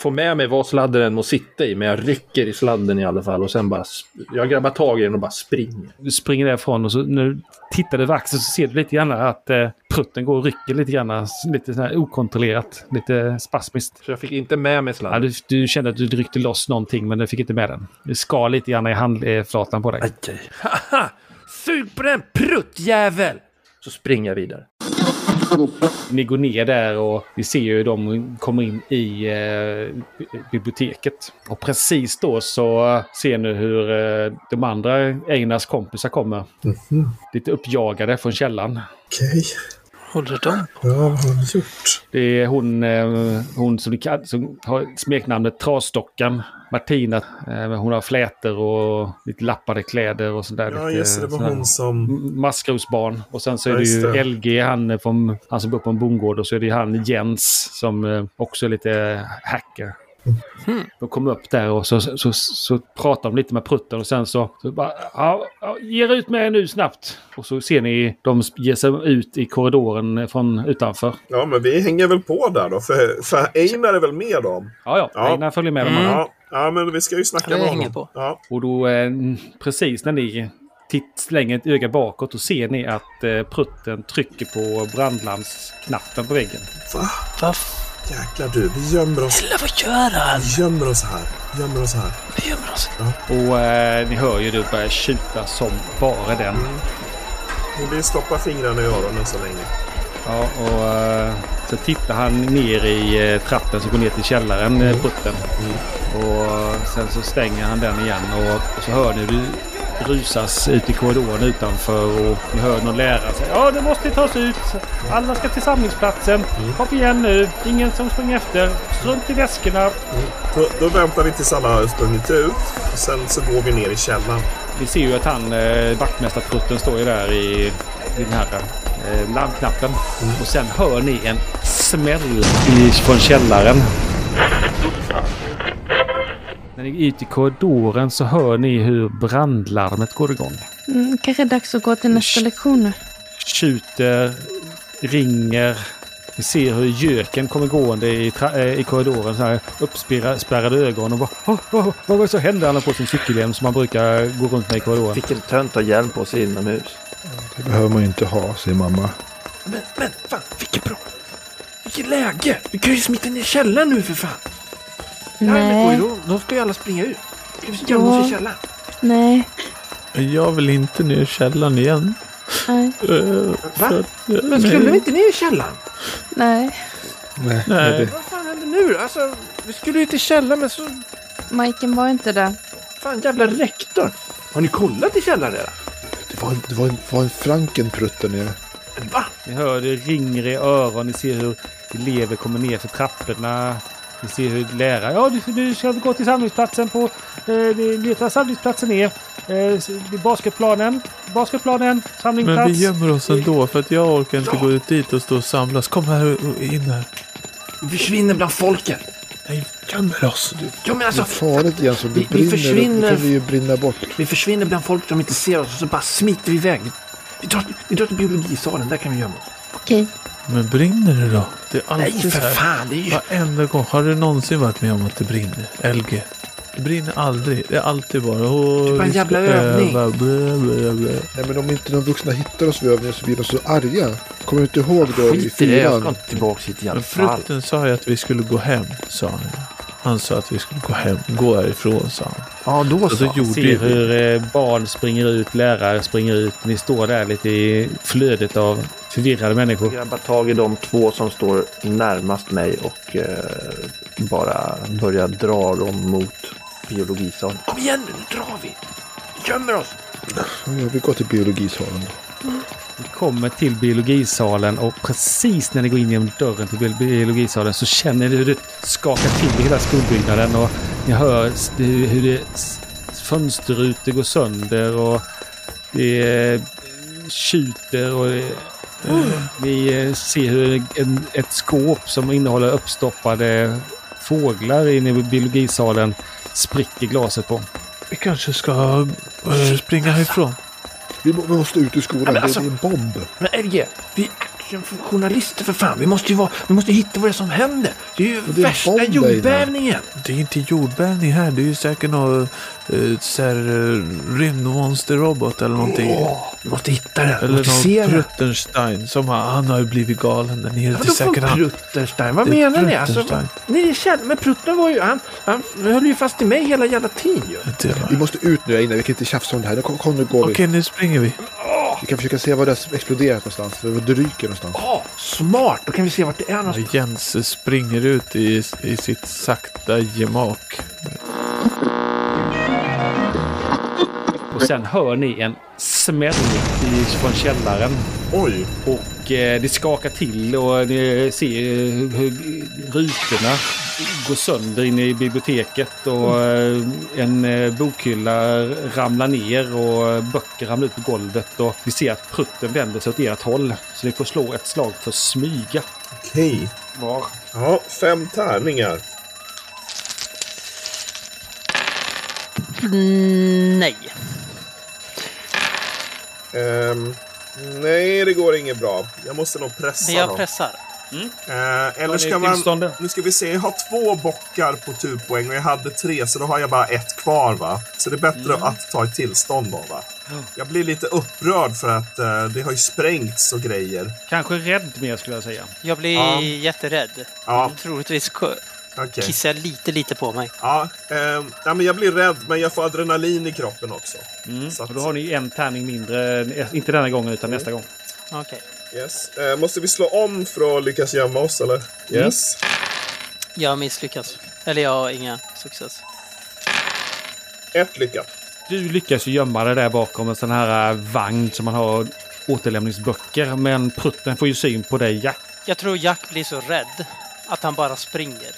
Speaker 4: få med mig vad sladden än må sitta i, men jag rycker i sladden i alla fall och sen bara... sp- Jag grabbar tag i den och bara springer.
Speaker 2: Du springer därifrån och så när du tittar över axeln så ser du lite grann att eh, prutten går och rycker lite grann. Lite så här okontrollerat. Lite spasmiskt.
Speaker 4: Så jag fick inte med mig
Speaker 2: Ja,
Speaker 4: sladden.
Speaker 2: du, du kände att du ryckte loss någonting men du fick inte med den. Du skar lite grann i handflatan på dig.
Speaker 4: Okej. Haha! Sug på den pruttjävel! Så springer jag vidare.
Speaker 2: Ni går ner där och vi ser ju hur de kommer in i eh, bi- biblioteket. Och precis då så ser ni hur eh, de andra Einars kompisar kommer. Lite uppjagade från källan.
Speaker 7: Okej.
Speaker 8: håller de på?
Speaker 7: Ja, vad har du gjort?
Speaker 2: Det är hon, eh, hon som, ni kan- som har smeknamnet Trasdockan, Martina. Eh, men Hon har flätor och lite lappade kläder och sådär.
Speaker 7: Ja,
Speaker 2: lite,
Speaker 7: just det. Det var
Speaker 2: sådär
Speaker 7: hon som...
Speaker 2: Maskrosbarn. Och sen så är
Speaker 7: Ja,
Speaker 2: det
Speaker 7: just
Speaker 2: ju
Speaker 7: det.
Speaker 2: LG, han, är från, han som bor på en bondgård. Och så är det ju han Jens som eh, också är lite hacker. De kom upp där och så, så, så, så pratade de lite med prutten och sen så, så bara ja, ja, ge er ut med er nu snabbt. Och så ser ni de ger sig ut i korridoren från utanför.
Speaker 7: Ja, men vi hänger väl på där då. För, för Einar är väl med dem?
Speaker 2: Ja, ja.
Speaker 7: Ja.
Speaker 2: Einar följer med dem.
Speaker 8: Mm.
Speaker 7: Ja, ja, men vi ska ju snacka
Speaker 8: Ja,
Speaker 7: med
Speaker 8: jag
Speaker 7: honom.
Speaker 8: hänger på.
Speaker 7: Ja,
Speaker 2: Och då eh, precis när ni titt, slänger ett öga bakåt och ser ni att eh, prutten trycker på brandlarmsknappen på väggen.
Speaker 8: Va?
Speaker 7: jäklar du. Vi gömmer oss,
Speaker 8: Eller vad gör han?
Speaker 7: vi gömmer oss här. Vi gömmer oss här.
Speaker 8: Vi gömmer oss.
Speaker 2: Och eh, ni hör ju det börjar tjuta som bara den.
Speaker 7: Vi stoppar fingrarna i öronen så länge.
Speaker 2: Ja, och eh, så tittar han ner i eh, trappen som går ner till källaren, eh, prutten. Och eh, sen så stänger han den igen och, och så hör ni hur det rusas ut i korridoren utanför och ni hör någon lärare säga ja nu måste ni ta oss ut. Alla ska till samlingsplatsen. Kom igen nu. Ingen som springer efter. Strunt i väskorna.
Speaker 7: Då, då väntar vi tills alla har sprungit ut. Och sen så går vi ner i källaren.
Speaker 2: Vi ser ju att han, eh, vaktmästarprutten, står ju där i, i den här eh, larmknappen. Och sen hör ni en smäll i, från källaren. När ni är ute i korridoren så hör ni hur brandlarmet går igång.
Speaker 3: Mm, kanske är dags att gå till nästa lektion nu.
Speaker 2: Tjuter, ringer. Vi ser hur göken kommer gående i, tra- eh, i korridoren. Så här uppspärrade ögon och bara "Åh, åh, åh, vad var det som hände? Han har på sin cykelhjälm som man brukar gå runt med i korridoren.
Speaker 4: Vilken tönt har hjälm på sig inomhus.
Speaker 6: Det behöver man ju inte ha, säger mamma.
Speaker 4: Men, men fan, vilket bra. Vilket läge. Vi kan ju smita ner i källaren nu för fan. Nej.
Speaker 3: Nej,
Speaker 4: Då, då ska ju alla springa ut. Ska vi gömma oss i
Speaker 3: Ja.
Speaker 4: källaren?
Speaker 3: nej,
Speaker 5: Jag vill inte ner i källaren igen.
Speaker 3: nej,
Speaker 5: Eh,
Speaker 4: Va?
Speaker 5: att jag-
Speaker 4: Men skulle vi inte ner i källaren?
Speaker 3: nej.
Speaker 6: Nej.
Speaker 5: Nej.
Speaker 6: det-
Speaker 4: Vad fan händer nu då? Alltså, vi skulle ju till källaren men så...
Speaker 3: Majken var inte där.
Speaker 4: Fan, jävla rektor. Har ni kollat i källaren redan?
Speaker 6: Det var, det var, en- var en frankenprutt där nere.
Speaker 4: Va?
Speaker 2: Ni hör det ringer i öron, ni ser hur elever kommer ner för trapporna. Ni ser hur lärare... Ja, nu, nu ska vi gå till samlingsplatsen på... Eh, ni letar samlingsplatsen ner. Eh, s- det är basketplanen. Basketplanen.
Speaker 5: Men
Speaker 2: Samlingsplats.
Speaker 5: vi gömmer oss ändå för att jag orkar inte gå ut dit och stå och samlas. Kom här och och in här.
Speaker 4: Vi försvinner bland folket.
Speaker 5: Nej, gömmer oss.
Speaker 4: Ja, men
Speaker 6: Det är
Speaker 4: alltså,
Speaker 6: farligt igen, så det
Speaker 4: vi- vi
Speaker 6: brinner. upp. Då
Speaker 4: försvinner.
Speaker 6: kan vi ju brinna bort.
Speaker 4: vi försvinner bland folket som inte ser oss och så bara smiter vi iväg. Vi drar, vi drar till biologisalen, där kan vi gömma oss.
Speaker 3: Okej.
Speaker 5: Men brinner det då? Det är alltid
Speaker 4: Nej,
Speaker 5: så
Speaker 4: för
Speaker 5: här.
Speaker 4: fan. Det är ju...
Speaker 5: Varenda gång. Har du någonsin varit med om att det brinner? LG. Det brinner aldrig. Det är alltid bara... Åh,
Speaker 4: Det är bara en
Speaker 5: vi ska
Speaker 4: jävla övning."
Speaker 5: öva, blä, blä, blä."
Speaker 6: Nej, men om inte de vuxna hittar oss vid övningen så blir de så arga. Kommer du inte ihåg då i
Speaker 4: Skit i det, jag ska
Speaker 6: fyran?
Speaker 4: inte tillbaka hit i alla
Speaker 5: Men
Speaker 4: fall.
Speaker 5: frukten sa ju att vi skulle gå hem, sa han. Han sa att vi skulle gå hem. Gå härifrån, sa han.
Speaker 4: Ja, då
Speaker 5: Och så
Speaker 4: så.
Speaker 5: gjorde
Speaker 2: ser
Speaker 5: vi
Speaker 2: hur eh, barn springer ut, lärare springer ut. Ni står där lite i flödet av förvirrade människor.
Speaker 4: grabbar tag i de två som står närmast mig och eh, bara börjar dra dem mot biologisalen. Kom igen nu, nu drar vi! Gömmer oss!
Speaker 6: Ja, vi går till biologisalen.
Speaker 2: Ni kommer till biologisalen och precis när ni går in genom dörren till bi- biologisalen så känner ni hur det skakar till i hela skolbyggnaden och ni hör s- hur hur det s- fönsterrutor går sönder och det eh, tjuter och det, ni eh, ser hur en, ett skåp som innehåller uppstoppade fåglar inne i biologisalen spricker glaset på.
Speaker 5: Vi kanske ska eh, springa härifrån.
Speaker 6: Vi, må, vi måste ut ur skolan.
Speaker 4: men
Speaker 6: Det-
Speaker 4: alltså-
Speaker 6: Det är en bomb.
Speaker 4: Men LG, vi är actionjournalister för fan. Vi måste ju vara, vi måste hitta vad det är som händer. Det är ju
Speaker 6: det är
Speaker 4: värsta
Speaker 6: bomb där inne.
Speaker 4: jordbävningen.
Speaker 5: Det är inte jordbävning här. Det är ju säkert någon eh, så här, eh, rymdmonsterrobot eller någonting.
Speaker 4: Åh, vi måste hitta den. vi
Speaker 5: Eller
Speaker 4: måste se
Speaker 5: någon
Speaker 4: den.
Speaker 5: Pruttenstein som har, han har ju blivit galen där nere. Det är
Speaker 4: Vadå
Speaker 5: säkert
Speaker 4: från
Speaker 5: han.
Speaker 4: Pruttenstein? Vad
Speaker 5: Det är
Speaker 4: menar ni? Alltså,
Speaker 5: Pruttenstein.
Speaker 4: ni är kär, men Prutten var ju, han, han höll ju fast i mig hela jävla tiden ju.
Speaker 5: Det var-
Speaker 6: Vi måste ut nu innan vi kan inte tjafsa om det här. Nu, Kom, kom nu går
Speaker 5: Okej,
Speaker 6: vi.
Speaker 5: nu springer vi.
Speaker 6: Vi kan försöka se var det har exploderat någonstans. Var det ryker någonstans.
Speaker 4: Ja, smart! Då kan vi se vart det är någonstans.
Speaker 5: Och Jens springer ut i, i sitt sakta gemak.
Speaker 2: Och sen hör ni en smäll i, från källaren.
Speaker 7: Oj!
Speaker 2: Och Och eh, det skakar till och ni ser hur hur rutorna går sönder inne i biblioteket. Och eh, en eh, bokhylla ramlar ner och böcker ramlar ut på golvet. Och vi ser att prutten vänder sig åt ert håll. Så ni får slå ett slag för smyga.
Speaker 7: Okej.
Speaker 2: Var?
Speaker 7: Ja, fem tärningar.
Speaker 8: Mm, nej.
Speaker 7: Ehm, nej, det går inget bra. Jag måste nog pressa
Speaker 8: Men jag
Speaker 7: dem.
Speaker 8: pressar.
Speaker 7: Eh, eller ska man... Nu ska vi se, jag har två bockar på turpoäng och jag hade tre, så då har jag bara ett kvar va? Så det är bättre
Speaker 8: Mm.
Speaker 7: att ta ett tillstånd då va? Jag blir lite upprörd för att eh, det har ju sprängts och grejer.
Speaker 2: Kanske rädd mer skulle jag säga.
Speaker 8: Jag blir
Speaker 7: Ja.
Speaker 8: jätterädd.
Speaker 7: Ja,
Speaker 8: Troligtvis ko-
Speaker 7: okej.
Speaker 8: kissar jag lite, lite på mig.
Speaker 7: Ja, ehm, ja, men jag blir rädd, men jag får adrenalin i kroppen också.
Speaker 2: Mm.
Speaker 7: Så att-
Speaker 2: Och då har ni en tärning mindre. eh, Inte denna gången
Speaker 7: Mm.
Speaker 2: utan nästa gång.
Speaker 8: Okej.
Speaker 7: Yes. Eh, måste vi slå om för att lyckas gömma oss eller? Yes.
Speaker 8: Jag misslyckas. Eller jag har inga success.
Speaker 7: Ett lyckat.
Speaker 2: Du lyckas ju gömma dig där bakom en sån här eh, vagn som man har återlämningsböcker. Men prutten får ju syn på dig, Jack.
Speaker 8: Jag tror Jack blir så rädd att han bara springer.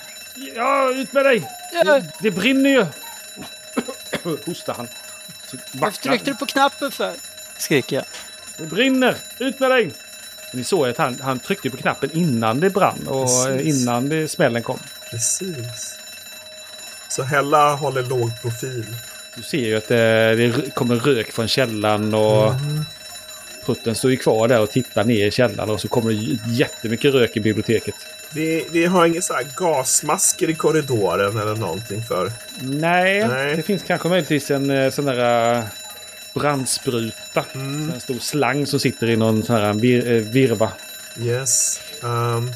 Speaker 2: Ja, ut med dig!
Speaker 8: Jag,
Speaker 2: Det brinner ju! Hostar han. Så
Speaker 8: varför
Speaker 2: vacklar-
Speaker 8: tryckte du på knappen för? Skrek jag.
Speaker 2: Det brinner! Ut med dig! Ni såg att han, han tryckte på knappen innan det brann och eh,
Speaker 7: Precis.
Speaker 2: innan det, smällen kom.
Speaker 7: Precis. Så Hella håller låg profil.
Speaker 2: Du ser ju att eh, det, det r- kommer rök från källan och
Speaker 7: Mm.
Speaker 2: prutten står ju kvar där och tittar ner i källan och så kommer det j- jättemycket rök i biblioteket.
Speaker 7: Vi, vi har inga så här gasmasker i korridoren eller någonting för.
Speaker 2: Nej,
Speaker 7: Nej.
Speaker 2: det finns kanske möjligtvis en eh, sån där eh, brandspruta.
Speaker 7: Mm.
Speaker 2: En stor slang som sitter i någon sån här vir, eh, virva.
Speaker 7: Yes. Ehm,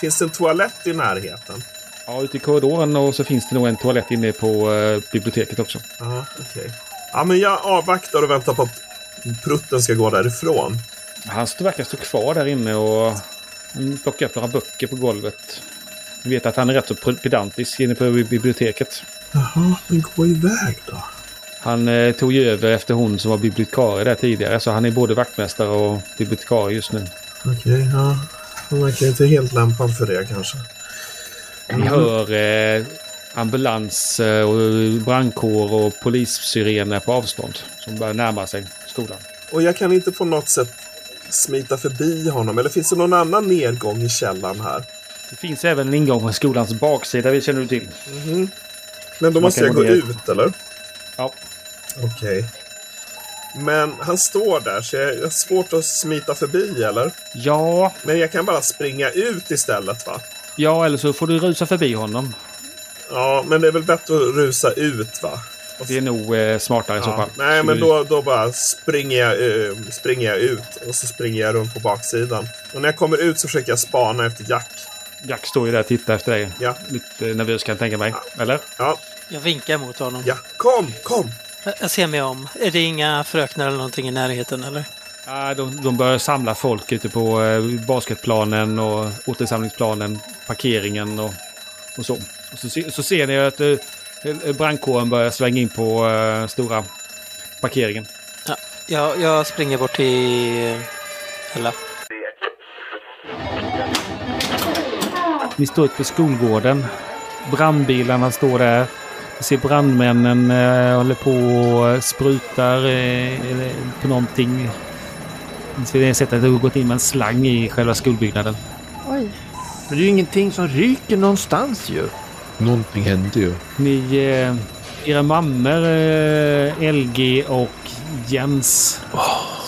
Speaker 7: finns det en toalett i närheten?
Speaker 2: Ja, ute i korridoren och så finns det nog en toalett inne på eh, biblioteket också.
Speaker 7: Ja, okej. Ja, men jag avvaktar och väntar på att prutten ska gå därifrån.
Speaker 2: Han st- verkar stå kvar där inne och mm, plocka upp några böcker på golvet. Vi vet att han är rätt så pedantisk inne på bi- biblioteket.
Speaker 7: Jaha, men gå iväg då.
Speaker 2: Han eh, tog ju över efter hon som var bibliotekarie där tidigare, så han är både vaktmästare och bibliotekarie just nu.
Speaker 7: Okej, ja. Han verkar inte helt lämpad för det kanske.
Speaker 2: Ni hör eh, ambulans, eh, och brandkår och polissirener på avstånd som börjar närma sig skolan.
Speaker 7: Och jag kan inte på något sätt smita förbi honom. Eller finns det någon annan nedgång i källan här?
Speaker 2: Det finns även en ingång på skolans baksida, vi känner du till.
Speaker 7: Men då
Speaker 2: Mhm. Man
Speaker 7: måste
Speaker 2: kan
Speaker 7: jag
Speaker 2: gå
Speaker 7: gå
Speaker 2: ner.
Speaker 7: ut, eller?
Speaker 2: Ja.
Speaker 7: Okej. Men han står där, så jag jag har svårt att smita förbi, eller?
Speaker 2: Ja,
Speaker 7: Men jag kan bara springa ut istället, va?
Speaker 2: ja, eller så får du rusa förbi honom.
Speaker 7: Ja, men det är väl bättre att rusa ut, va?
Speaker 2: Det är nog eh, smartare i så
Speaker 7: Ja.
Speaker 2: fall.
Speaker 7: Nej,
Speaker 2: Så
Speaker 7: men
Speaker 2: du-
Speaker 7: då, då bara springer jag, eh, springer jag ut och så springer jag runt på baksidan. Och när jag kommer ut så försöker jag spana efter Jack.
Speaker 2: Jack står ju där och tittar efter dig.
Speaker 7: Ja,
Speaker 2: Lite nervös kan jag tänka mig. Eller?
Speaker 7: ja,
Speaker 8: Jag vinkar mot honom.
Speaker 7: ja. Kom, kom!
Speaker 8: Jag- Jag ser mig om. Är det inga fröknar eller någonting i närheten eller?
Speaker 2: Ja, de, de börjar samla folk ute på eh, basketplanen och återsamlingsplanen, parkeringen och, och så. Och så, se- så ser ni att eh, eh, brandkåren börjar svänga in på eh, stora parkeringen.
Speaker 8: Jag, jag springer bort till... Eller?
Speaker 2: Ni står ute på skolgården. Brandbilarna står där. Vi ser brandmännen eh, håller på och sprutar eh, eller på någonting. Ni ser det sättet att det har gått in med en slang i själva skolbyggnaden.
Speaker 3: Oj.
Speaker 4: Men det är ju ingenting som ryker någonstans ju.
Speaker 6: Någonting hände ju.
Speaker 2: Ni, eh, era mammor, eh, LG och Jens,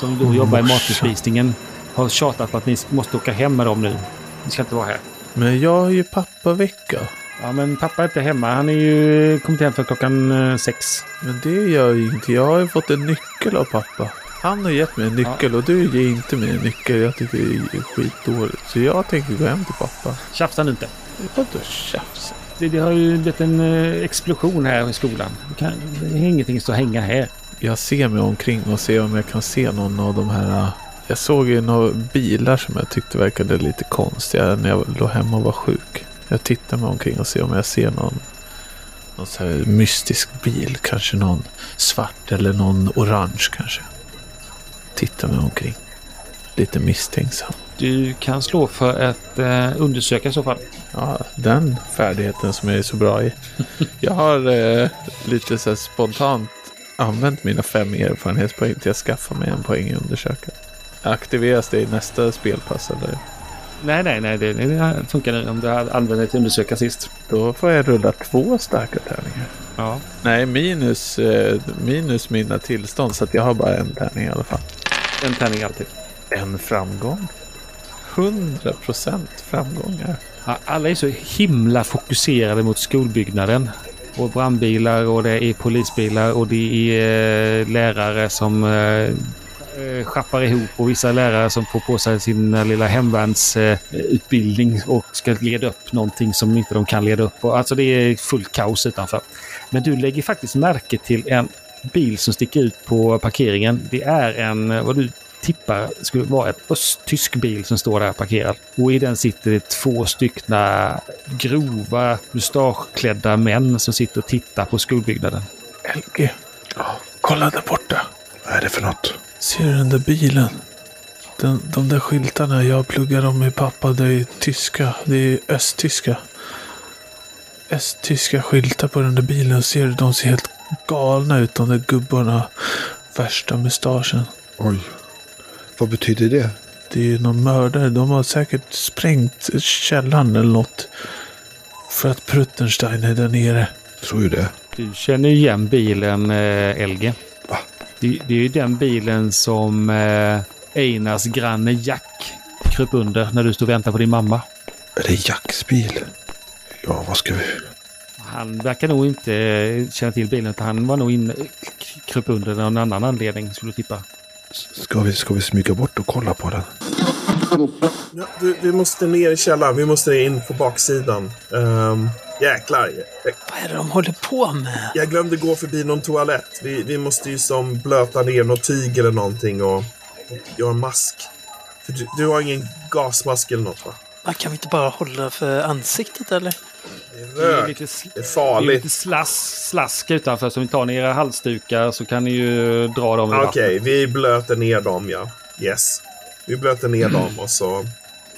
Speaker 2: som då jobbar i matbespisningen, har tjatat på att ni måste åka hem med dem nu. Ni ska inte vara här.
Speaker 5: Men jag har ju pappavecka.
Speaker 2: Ja, men pappa är inte hemma. Han är ju kommit hem för klockan eh, sex.
Speaker 5: Men det gör ju ingenting. Jag har ju fått en nyckel av pappa. Han har gett mig en nyckel och du ger inte mig en nyckel. Jag tycker det är skitdåligt. Så jag tänker gå hem till pappa.
Speaker 2: Tjafsa nu inte.
Speaker 5: Vadå tjafs?
Speaker 2: Det, det har ju blivit en eh, explosion här i skolan. Det, kan, det är ingenting som hänger här.
Speaker 5: Jag ser mig omkring och ser om jag kan se någon av de här... äh, Jag såg ju några bilar som jag tyckte verkade lite konstiga när jag låg hemma och var sjuk. Jag tittar mig omkring och ser om jag ser någon, någon så här mystisk bil. Kanske någon svart eller någon orange kanske. Tittar mig omkring. lite misstänksam.
Speaker 2: Du kan slå för ett eh, undersöka i så fall.
Speaker 5: Ja, den färdigheten som jag är så bra i. Jag har eh, lite så här spontant använt mina fem erfarenhetspoäng till att skaffa mig en poäng i undersöka. Aktiveras det i nästa spelpass eller?
Speaker 2: Nej, nej, nej. Det, det funkar nu om du använder ett undersöka sist.
Speaker 5: Då får jag rulla två starka tärningar.
Speaker 2: Ja.
Speaker 5: Nej, minus, eh, minus mina tillstånd så att jag har bara en tärning i alla fall.
Speaker 2: En tärning alltid.
Speaker 5: En framgång. 100% framgångar.
Speaker 2: Ja, alla är så himla fokuserade mot skolbyggnaden. Och brandbilar och det är polisbilar och det är eh, lärare som eh, schappar ihop och vissa lärare som får på sig sin eh, lilla hemvärnsutbildning och ska leda upp någonting som inte de kan leda upp. Och Alltså det är fullt kaos utanför. Men du lägger faktiskt märke till en bil som sticker ut på parkeringen. Det är en, eh, vad du tippar skulle vara en östtysk bil som står där parkerad. Och i den sitter det två stycken grova mustaschklädda män som sitter och tittar på skolbyggnaden.
Speaker 5: LG. kolla där borta.
Speaker 6: Vad är det för något?
Speaker 5: Ser du den där bilen? Den, de där skyltarna, jag pluggar dem med pappa. Det är tyska. Det är östtyska. Östtyska skyltar på den där bilen. Ser du? De ser helt galna ut, de där gubbarna. Värsta mustaschen.
Speaker 6: Oj. Vad betyder det?
Speaker 5: Det är ju någon mördare. De har säkert sprängt källaren eller något. För att Pruttenstein är där nere.
Speaker 6: Tror ju det.
Speaker 2: Du känner ju igen bilen eh, LG.
Speaker 6: Va?
Speaker 2: Det, det är ju den bilen som eh, Einars granne Jack kröp under när du stod och väntade på din mamma.
Speaker 6: Är det Jacks bil? Ja, vad ska vi...
Speaker 2: Han verkar nog inte eh, känna till bilen utan han var nog inne, k- kröp under av någon annan anledning skulle du tippa.
Speaker 6: Ska vi, ska vi smyga bort och kolla på den?
Speaker 7: Ja, du, vi måste ner i källaren. Vi måste in på baksidan. Um, jäklar. Jag,
Speaker 8: Vad är det de håller på med?
Speaker 7: jag glömde gå förbi någon toalett. Vi, vi måste ju som blöta ner något tyg eller någonting och, och göra en mask. För du, du har ingen gasmask eller något va?
Speaker 8: Man kan vi inte bara hålla för ansiktet eller?
Speaker 7: Det är
Speaker 2: Det är
Speaker 7: rök.
Speaker 2: lite, sl-
Speaker 7: Det är
Speaker 2: det är
Speaker 7: farligt.
Speaker 2: lite slask, slask utanför så om ni tar ner era halsdukar så kan ni ju dra dem i
Speaker 7: Okej,
Speaker 2: vattnet.
Speaker 7: vi blöter ner dem ja. Yes. Vi blöter ner dem och så,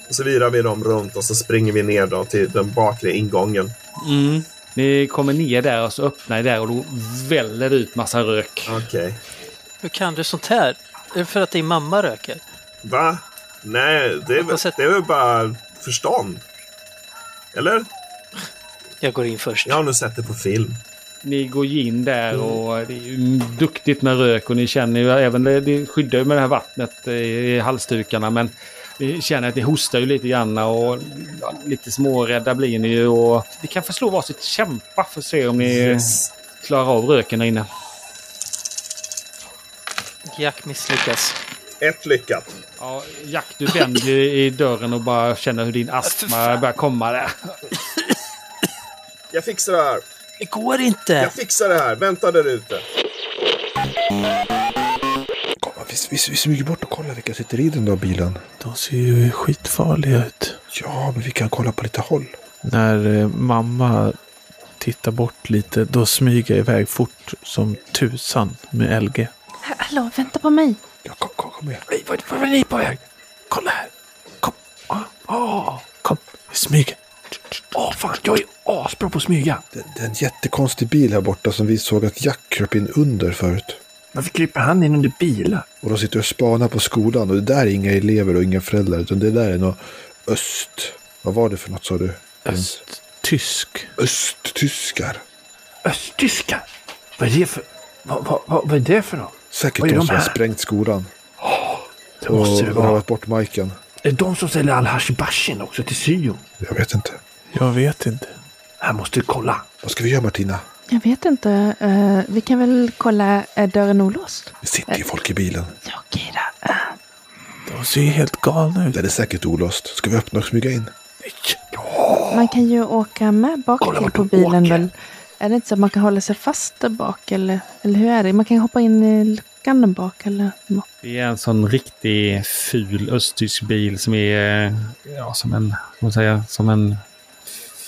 Speaker 7: och så virar vi dem runt och så springer vi ner då till den bakre ingången.
Speaker 2: Mm. Ni kommer ner där och så öppnar ni där och då väller det ut massa rök.
Speaker 7: Okej.
Speaker 8: Hur kan du sånt här? Är det för att din mamma röker?
Speaker 7: Va? Nej, det är,
Speaker 8: har
Speaker 7: väl-
Speaker 8: sett-
Speaker 7: det är väl bara förstånd? Eller?
Speaker 8: Jag går in först.
Speaker 7: Jag har nog sett det på film.
Speaker 2: Ni går ju in där och det är ju duktigt med rök och ni känner ju även det, det skyddar ju med det här vattnet eh, i halsdukarna men ni känner att ni hostar ju lite grann och ja, lite smårädda blir ni ju och ni kan förslå varsitt kämpa för att se om ni
Speaker 7: Yes.
Speaker 2: klarar av röken där inne.
Speaker 8: Jack misslyckas.
Speaker 7: Ett lyckat.
Speaker 2: Ja, Jack, du vänder ju i dörren och bara känner hur din astma börjar komma där.
Speaker 7: Jag fixar det här.
Speaker 8: Det går inte!
Speaker 7: Jag fixar det här. Vänta där ute.
Speaker 6: Kolla, vi, vi, vi smyger bort och kollar vilka sitter i den där bilen.
Speaker 5: De ser ju skitfarliga ut.
Speaker 6: Ja, men vi kan kolla på lite håll.
Speaker 5: När eh, mamma tittar bort lite, då smyger jag iväg fort som tusan med LG.
Speaker 3: Hallå, vänta på mig.
Speaker 6: Ja, kom, kom, kom igen.
Speaker 5: Nej, vart var är ni på väg? Kolla här! Kom! Ah, ah. Kom, vi smyger.
Speaker 4: Åh ah, fan, jag är asbra på att smyga.
Speaker 6: Det, det är en jättekonstig bil här borta som vi såg att Jack kröp in under förut.
Speaker 4: Varför kryper han in under bilar?
Speaker 6: Och de sitter och spanar på skolan och det där är inga elever och inga föräldrar utan det där är något öst. Vad var det för något sa du?
Speaker 5: Östtysk.
Speaker 6: Östtyskar.
Speaker 4: Östtyskar? Vad är det för... Vad, vad, vad, vad är det för något? Vad
Speaker 6: Säkert
Speaker 4: är
Speaker 6: de
Speaker 4: de
Speaker 6: som har
Speaker 4: här?
Speaker 6: sprängt skolan
Speaker 4: Det
Speaker 6: och
Speaker 4: måste det vara.
Speaker 6: rövat bort Majken.
Speaker 4: Är det de som säljer all hashibashin också till syon?
Speaker 6: Jag vet inte.
Speaker 5: Jag vet inte.
Speaker 4: Här måste vi kolla.
Speaker 6: Vad ska vi göra Martina?
Speaker 3: Jag vet inte. eh, vi kan väl kolla, är dörren olåst?
Speaker 6: Det sitter ju folk i bilen.
Speaker 3: Ja, okej då. Eh,
Speaker 5: De ser ju helt galna ut.
Speaker 6: Det är säkert olöst. Ska vi öppna och smyga in?
Speaker 3: Eh, man kan ju åka med bak
Speaker 4: Kolla
Speaker 3: till
Speaker 4: vart
Speaker 3: på
Speaker 4: de
Speaker 3: bilen
Speaker 4: åker.
Speaker 3: väl? Är det inte så att man kan hålla sig fast där bak eller, eller hur är det? Man kan hoppa in i luckan där bak eller något.
Speaker 2: Det är en sån riktig ful östtysk bil som är eh, ja, som en, vad ska man säga, som en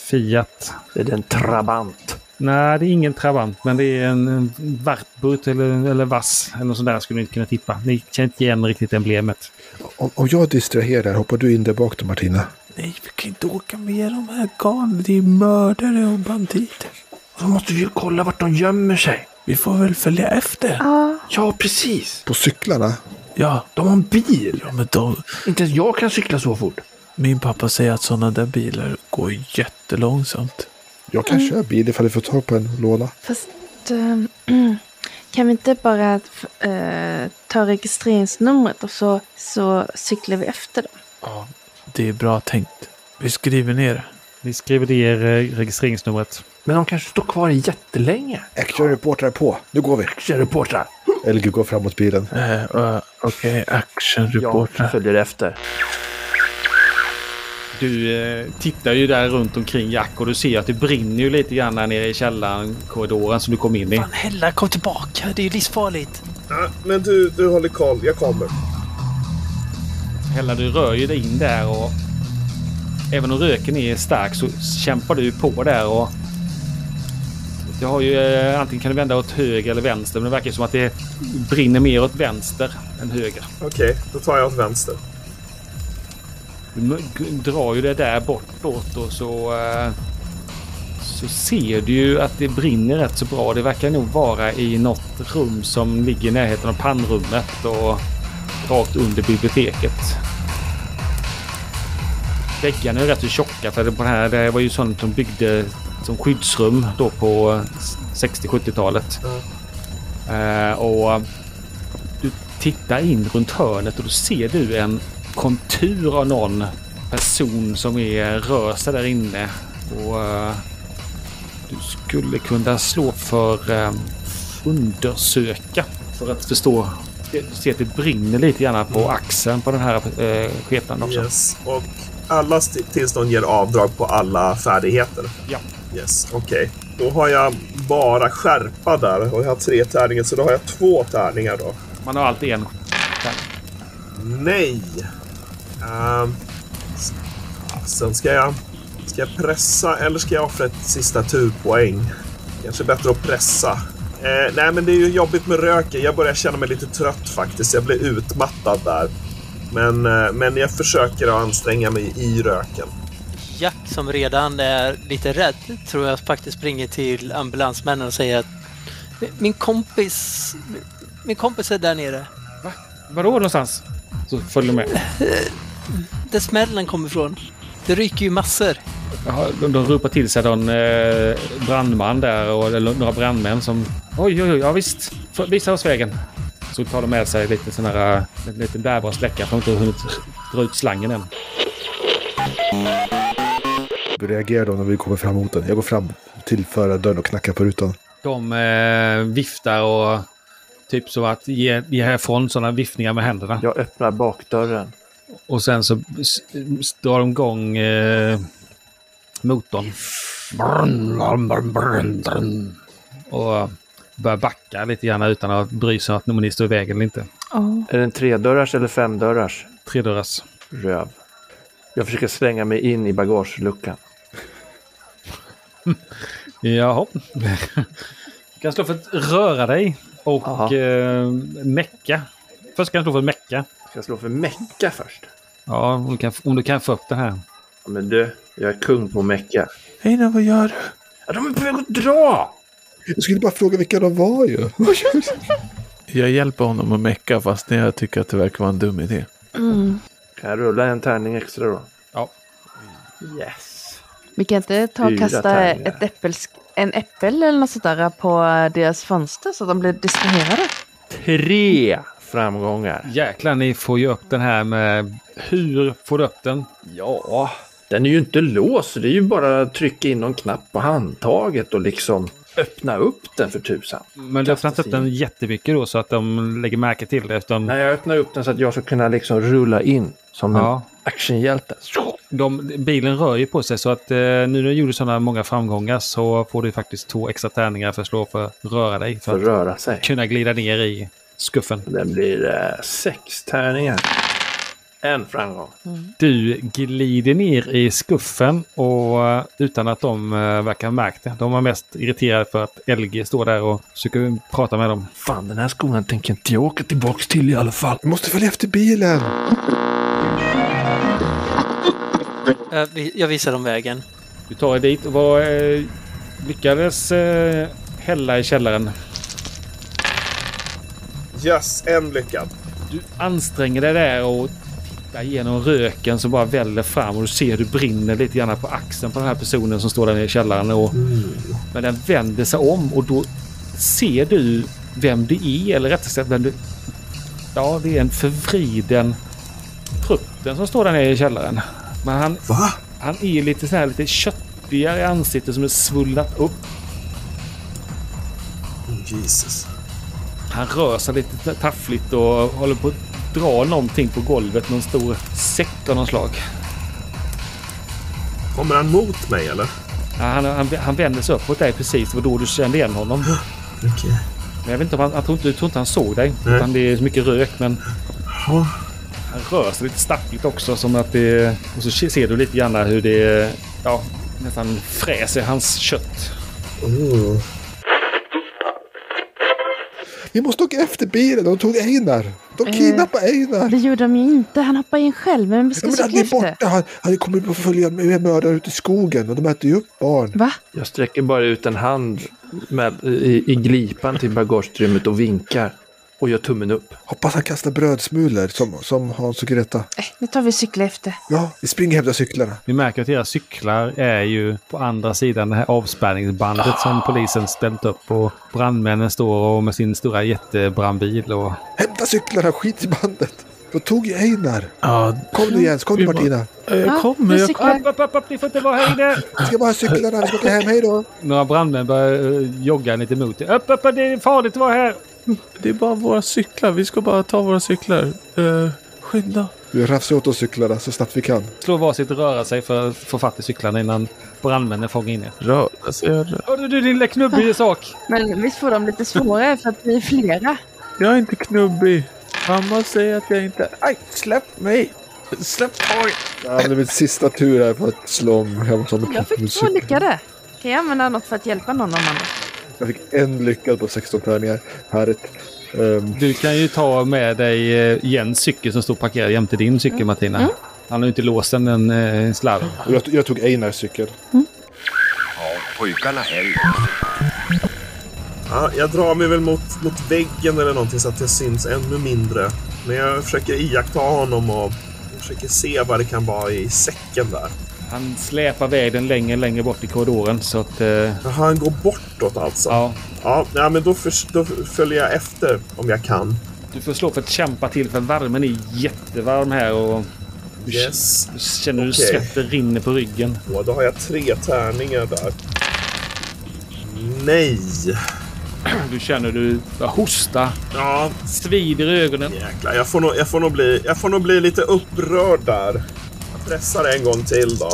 Speaker 2: Fiat.
Speaker 4: Det är en trabant.
Speaker 2: Nej, det är ingen Trabant, men det är en en Wartburg eller, eller Vass. Eller något sånt där skulle ni inte kunna tippa. Ni känner inte igen riktigt emblemet.
Speaker 6: Om, om jag distraherar, hoppar du in där bak då Martina?
Speaker 4: Nej, vi kan inte åka med de här galna. Det är mördare och banditer. Och så måste vi ju kolla vart de gömmer sig. Vi får väl följa efter.
Speaker 3: Ja.
Speaker 4: Ja, precis.
Speaker 6: På cyklarna?
Speaker 4: Ja, de har en bil.
Speaker 5: Ja, men de,
Speaker 4: Inte ens jag kan cykla så fort.
Speaker 5: min pappa säger att sådana där bilar går jättelångsamt.
Speaker 6: Jag kan köra bil ifall vi får tag på en och låna.
Speaker 3: Fast eh, kan vi inte bara eh, ta registreringsnumret och så, så cyklar vi efter dem?
Speaker 5: Ja. Det är bra tänkt. Vi skriver ner det.
Speaker 2: Ni skriver ner eh, registreringsnumret.
Speaker 4: Men de kanske står kvar jättelänge.
Speaker 6: Action reportrar på, nu går vi.
Speaker 4: Reportrar.
Speaker 6: Elgi går framåt bilen.
Speaker 5: Eh, eh, Okej,
Speaker 4: Jag
Speaker 5: actionreportrar.
Speaker 4: följer efter.
Speaker 2: Du eh, tittar ju där runt omkring Jack och du ser att det brinner ju lite grann här nere i källaren, korridoren som du kom in i.
Speaker 8: Fan Hella, kom tillbaka. Det är ju livsfarligt.
Speaker 7: Ja, men du, du håller koll. Jag kommer.
Speaker 2: Hella, du rör ju dig in där och även om röken är stark så kämpar du på där och du har ju eh, antingen kan du vända åt höger eller vänster, men det verkar som att det brinner mer åt vänster än höger.
Speaker 7: Okej, då tar jag åt vänster.
Speaker 2: Du m- g- drar ju det där bortåt och så, eh, så ser du ju att det brinner rätt så bra. Det verkar nog vara i något rum som ligger i närheten av pannrummet och rakt under biblioteket. Väggarna är ju rätt så tjocka för det, på den här, det här var ju sånt de byggde som skyddsrum då på eh, 60-70-talet. Eh, och du tittar in runt hörnet och då ser du en kontur av någon person som är rör sig där inne. Och eh, du skulle kunna slå för eh, undersöka för att förstå. Du ser att det brinner lite gärna på axeln på den här eh, skepnaden också.
Speaker 7: Yes. Och alla st- tillstånd ger avdrag på alla färdigheter?
Speaker 2: Ja.
Speaker 7: Yes, okej. Då har jag bara skärpa där och jag har tre tärningar så då har jag två tärningar då.
Speaker 2: Man har alltid en.
Speaker 7: Nej! Ehm, s- sen ska jag... Ska jag pressa eller ska jag offra ett sista turpoäng? Kanske bättre att pressa. Eh, nej, men det är ju jobbigt med röken. Jag börjar känna mig lite trött faktiskt. Jag blir utmattad där. Men, eh, men jag försöker att anstränga mig i röken.
Speaker 8: Jack som redan är lite rädd tror jag faktiskt springer till ambulansmännen och säger att "Min- min kompis, min kompis är där nere.
Speaker 2: Vadå någonstans? Så följer med.
Speaker 8: Där smällen kommer ifrån. Det ryker ju massor.
Speaker 2: Jaha, de, de ropar till sig någon eh, brandman där, och, eller några brandmän som... Oj, oj, oj, ja visst. F- Visa oss vägen. Så tar de med sig lite sån här... eh, En liten bärbar släcka för de inte har hunnit dra ut slangen än.
Speaker 6: Hur reagerar de när vi kommer fram mot den? Jag går fram till förardörren och knackar på rutan.
Speaker 2: De eh, viftar och... Typ som att ge, ge härifrån sådana viftningar med händerna.
Speaker 4: Jag öppnar bakdörren.
Speaker 2: Och sen så s- s- drar de igång eh, motorn. Brrrn, brrrn, brrrn, brrrn, brrrn. Och eh, börjar backa lite grann utan att bry sig om att ni står i vägen eller inte.
Speaker 3: Ja.
Speaker 4: Är det en tredörrars eller femdörrars?
Speaker 2: Tredörrars.
Speaker 4: Röv. Jag försöker slänga mig in i bagageluckan.
Speaker 2: Jaha. Du kan slå för att röra dig och
Speaker 4: Aha.
Speaker 2: eh, mecka. Först kan du slå för att mecka.
Speaker 4: Ska jag slå för mecka först?
Speaker 2: Ja, om du, kan, om du kan få upp den här.
Speaker 4: Ja, men du, jag är kung på mecka.
Speaker 5: Einar, vad gör du?
Speaker 4: Ja, de är på väg att dra!
Speaker 6: Jag skulle bara fråga vilka de var ju.
Speaker 5: Jag hjälper honom att mecka fast jag tycker att det verkar vara en dum idé.
Speaker 3: Mm.
Speaker 4: Kan jag rulla en tärning extra då?
Speaker 2: Ja.
Speaker 4: Yes.
Speaker 3: Vi kan inte ta och
Speaker 4: Fyra
Speaker 3: kasta
Speaker 4: tärningar.
Speaker 3: ett äppelsk- en äppel eller något sånt där på deras fönster så att de blir distraherade.
Speaker 4: Tre framgångar.
Speaker 2: Jäklar, ni får ju upp den här med... Hur får du upp den?
Speaker 4: Ja, den är ju inte låst. så Det är ju bara att trycka in någon knapp på handtaget och liksom öppna upp den för tusan.
Speaker 2: Men du öppnar inte upp
Speaker 4: Kasta sig
Speaker 2: den jättemycket då så att de lägger märke till det. Utan
Speaker 4: Nej, jag öppnar upp den så att jag ska kunna liksom rulla in som
Speaker 2: Ja.
Speaker 4: en actionhjälte.
Speaker 2: de, bilen rör ju på sig så att eh, nu när du gjorde sådana många framgångar så får du faktiskt två extra tärningar för att slå för att röra dig. För
Speaker 4: För att
Speaker 2: att
Speaker 4: röra sig.
Speaker 2: kunna glida ner i skuffen.
Speaker 4: Den blir eh, sex tärningar. En framgång.
Speaker 2: Du glider ner i skuffen och eh, utan att de eh, verkar ha märkt det. De var mest irriterade för att LG står där och försöker prata med dem.
Speaker 4: Fan, den här skolan tänker inte jag åka tillbaks till i alla fall.
Speaker 6: Vi måste följa efter bilen!
Speaker 8: Jag, vi- jag visar dem vägen.
Speaker 2: Du tar dig dit och var, eh, lyckades eh, hälla i källaren.
Speaker 7: Yes, en lyckad.
Speaker 2: Du anstränger dig där och tittar genom röken som bara väller fram och du ser hur det brinner lite grann på axeln på den här personen som står där nere i källaren. Och, Men den vänder sig om och då ser du vem det är, eller rättare sagt vem du... Ja, det är en förvriden prutten som står där nere i källaren. Men han,
Speaker 7: Va?
Speaker 2: han är lite så här lite köttigare i ansiktet som är svullnat upp.
Speaker 7: Jesus.
Speaker 2: Han rör sig lite taffligt och håller på att dra någonting på golvet. Någon stor säck av någon slag.
Speaker 7: Kommer han mot mig eller?
Speaker 2: Ja, Han, han, han vände sig uppåt dig precis. Det var då du kände igen honom.
Speaker 7: Okej.
Speaker 2: Men jag vet inte om han, jag tror inte, jag tror inte han såg dig.
Speaker 7: Nej.
Speaker 2: Utan det är så mycket rök. Men
Speaker 7: Ja.
Speaker 2: han rör sig lite stappligt också. Som att det, och så ser du lite grann där hur det ja, nästan fräser i hans kött.
Speaker 7: Oh.
Speaker 6: Vi måste åka efter bilen! De tog Einar! De
Speaker 3: Mm.
Speaker 6: kidnappade Einar!
Speaker 3: Det gjorde de ju inte. Han hoppade in själv, men vi ska
Speaker 6: Ja, men han
Speaker 3: cykla
Speaker 6: är
Speaker 3: efter.
Speaker 6: borta! Han, han kommer att följa med mördare ut i skogen och de äter ju upp barn.
Speaker 3: Va?
Speaker 4: Jag sträcker bara ut en hand med, i, i glipan till bagageutrymmet och vinkar. Och gör tummen upp.
Speaker 6: Hoppas han kastar brödsmulor som, som Hans och Greta.
Speaker 3: Eh, Nu tar vi och cyklar efter.
Speaker 6: Ja, vi springer och hämtar cyklarna.
Speaker 2: Ni märker att era cyklar är ju på andra sidan det här avspärrningsbandet som polisen ställt upp. Och brandmännen står och med sin stora jättebrandbil. Och
Speaker 6: Hämta cyklarna, skit i bandet! De tog ju Einar!
Speaker 5: Ja,
Speaker 6: Kom nu Jens, kom nu
Speaker 5: Vi må-
Speaker 6: Martina!
Speaker 5: eh,
Speaker 3: Ja,
Speaker 5: jag kommer.
Speaker 3: vi
Speaker 5: Jag
Speaker 3: cyklar.
Speaker 5: kommer.
Speaker 2: Upp, upp, upp, ni får inte vara här inne!
Speaker 6: Vi ska bara ha cyklarna, vi ska åka hem, hej då!
Speaker 2: Några brandmän börjar eh, jogga lite emot er. Upp, upp, upp, det är farligt att vara här!
Speaker 5: Det är bara våra cyklar. Vi ska bara ta våra cyklar. Eh, skynda.
Speaker 6: Vi rafsar åt oss cyklarna så snabbt vi kan.
Speaker 2: Slå varsitt röra sig för att få fatt i cyklarna innan brandmännen fångar in er.
Speaker 5: Röra sig. rö-
Speaker 2: Hör du din lilla knubbig sak?
Speaker 3: Men visst får de lite svårare för att vi är flera.
Speaker 5: Jag är inte knubbig. Mamma säger att jag inte... Aj, släpp mig! Släpp taget!
Speaker 6: Det här blir min sista tur här för att slå om hem som en
Speaker 3: Jag
Speaker 6: katt med
Speaker 3: fick två
Speaker 6: cykel.
Speaker 3: lyckade. Kan jag använda något för att hjälpa någon av andra?
Speaker 6: Jag fick en lyckad på 16 tärningar. Härligt. Ehm,
Speaker 2: Du kan ju ta med dig eh, Jens cykel som står parkerad jämte din cykel, Martina. Han har ju inte låst den, en, en slarv.
Speaker 6: och jag, jag tog Einars cykel.
Speaker 9: Ja, pojkarna heller.
Speaker 7: Ja, jag drar mig väl mot, mot väggen eller någonting så att jag syns ännu mindre. Men jag försöker iaktta honom och försöker se vad det kan vara i säcken där.
Speaker 2: Han släpar iväg den längre, längre bort i korridoren så att... Eh,
Speaker 7: Jaha, Han går bortåt alltså?
Speaker 2: ja.
Speaker 7: Ja, nej, men då, förs- då följer jag efter om jag kan.
Speaker 2: Du får slå för att kämpa till för värmen är jättevarm här och du
Speaker 7: Yes.
Speaker 2: k- känner hur
Speaker 7: Okej.
Speaker 2: svetten rinner på ryggen.
Speaker 7: Åh, Då har jag tre tärningar där. Nej!
Speaker 2: Du känner du börjar hosta,
Speaker 7: Ja,
Speaker 2: svider i ögonen.
Speaker 7: jäklar. Jag får nog, jag får nog, bli, jag får nog bli lite upprörd där. Jag pressar en gång till då.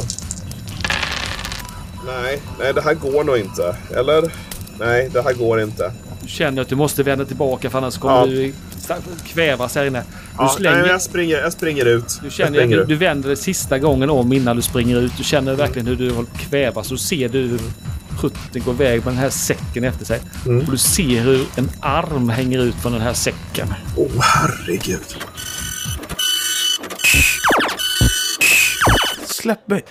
Speaker 7: Nej, nej, det här går nog inte. Eller? Nej, det här går inte.
Speaker 2: Du känner att du måste vända tillbaka för annars kommer
Speaker 7: Ja.
Speaker 2: du sta- kvävas här inne. Du,
Speaker 7: Ja, nej,
Speaker 2: slänger,
Speaker 7: men jag, springer, jag springer ut.
Speaker 2: du,
Speaker 7: jag
Speaker 2: känner, att
Speaker 7: springer
Speaker 2: du,
Speaker 7: ut.
Speaker 2: du vänder dig sista gången om innan du springer ut. Du känner verkligen hur du håller på att kvävas. Du ser du hur prutten går iväg med den här säcken efter sig. Och du ser hur en arm hänger ut från den här säcken.
Speaker 7: Åh, herregud.
Speaker 5: Släpp mig!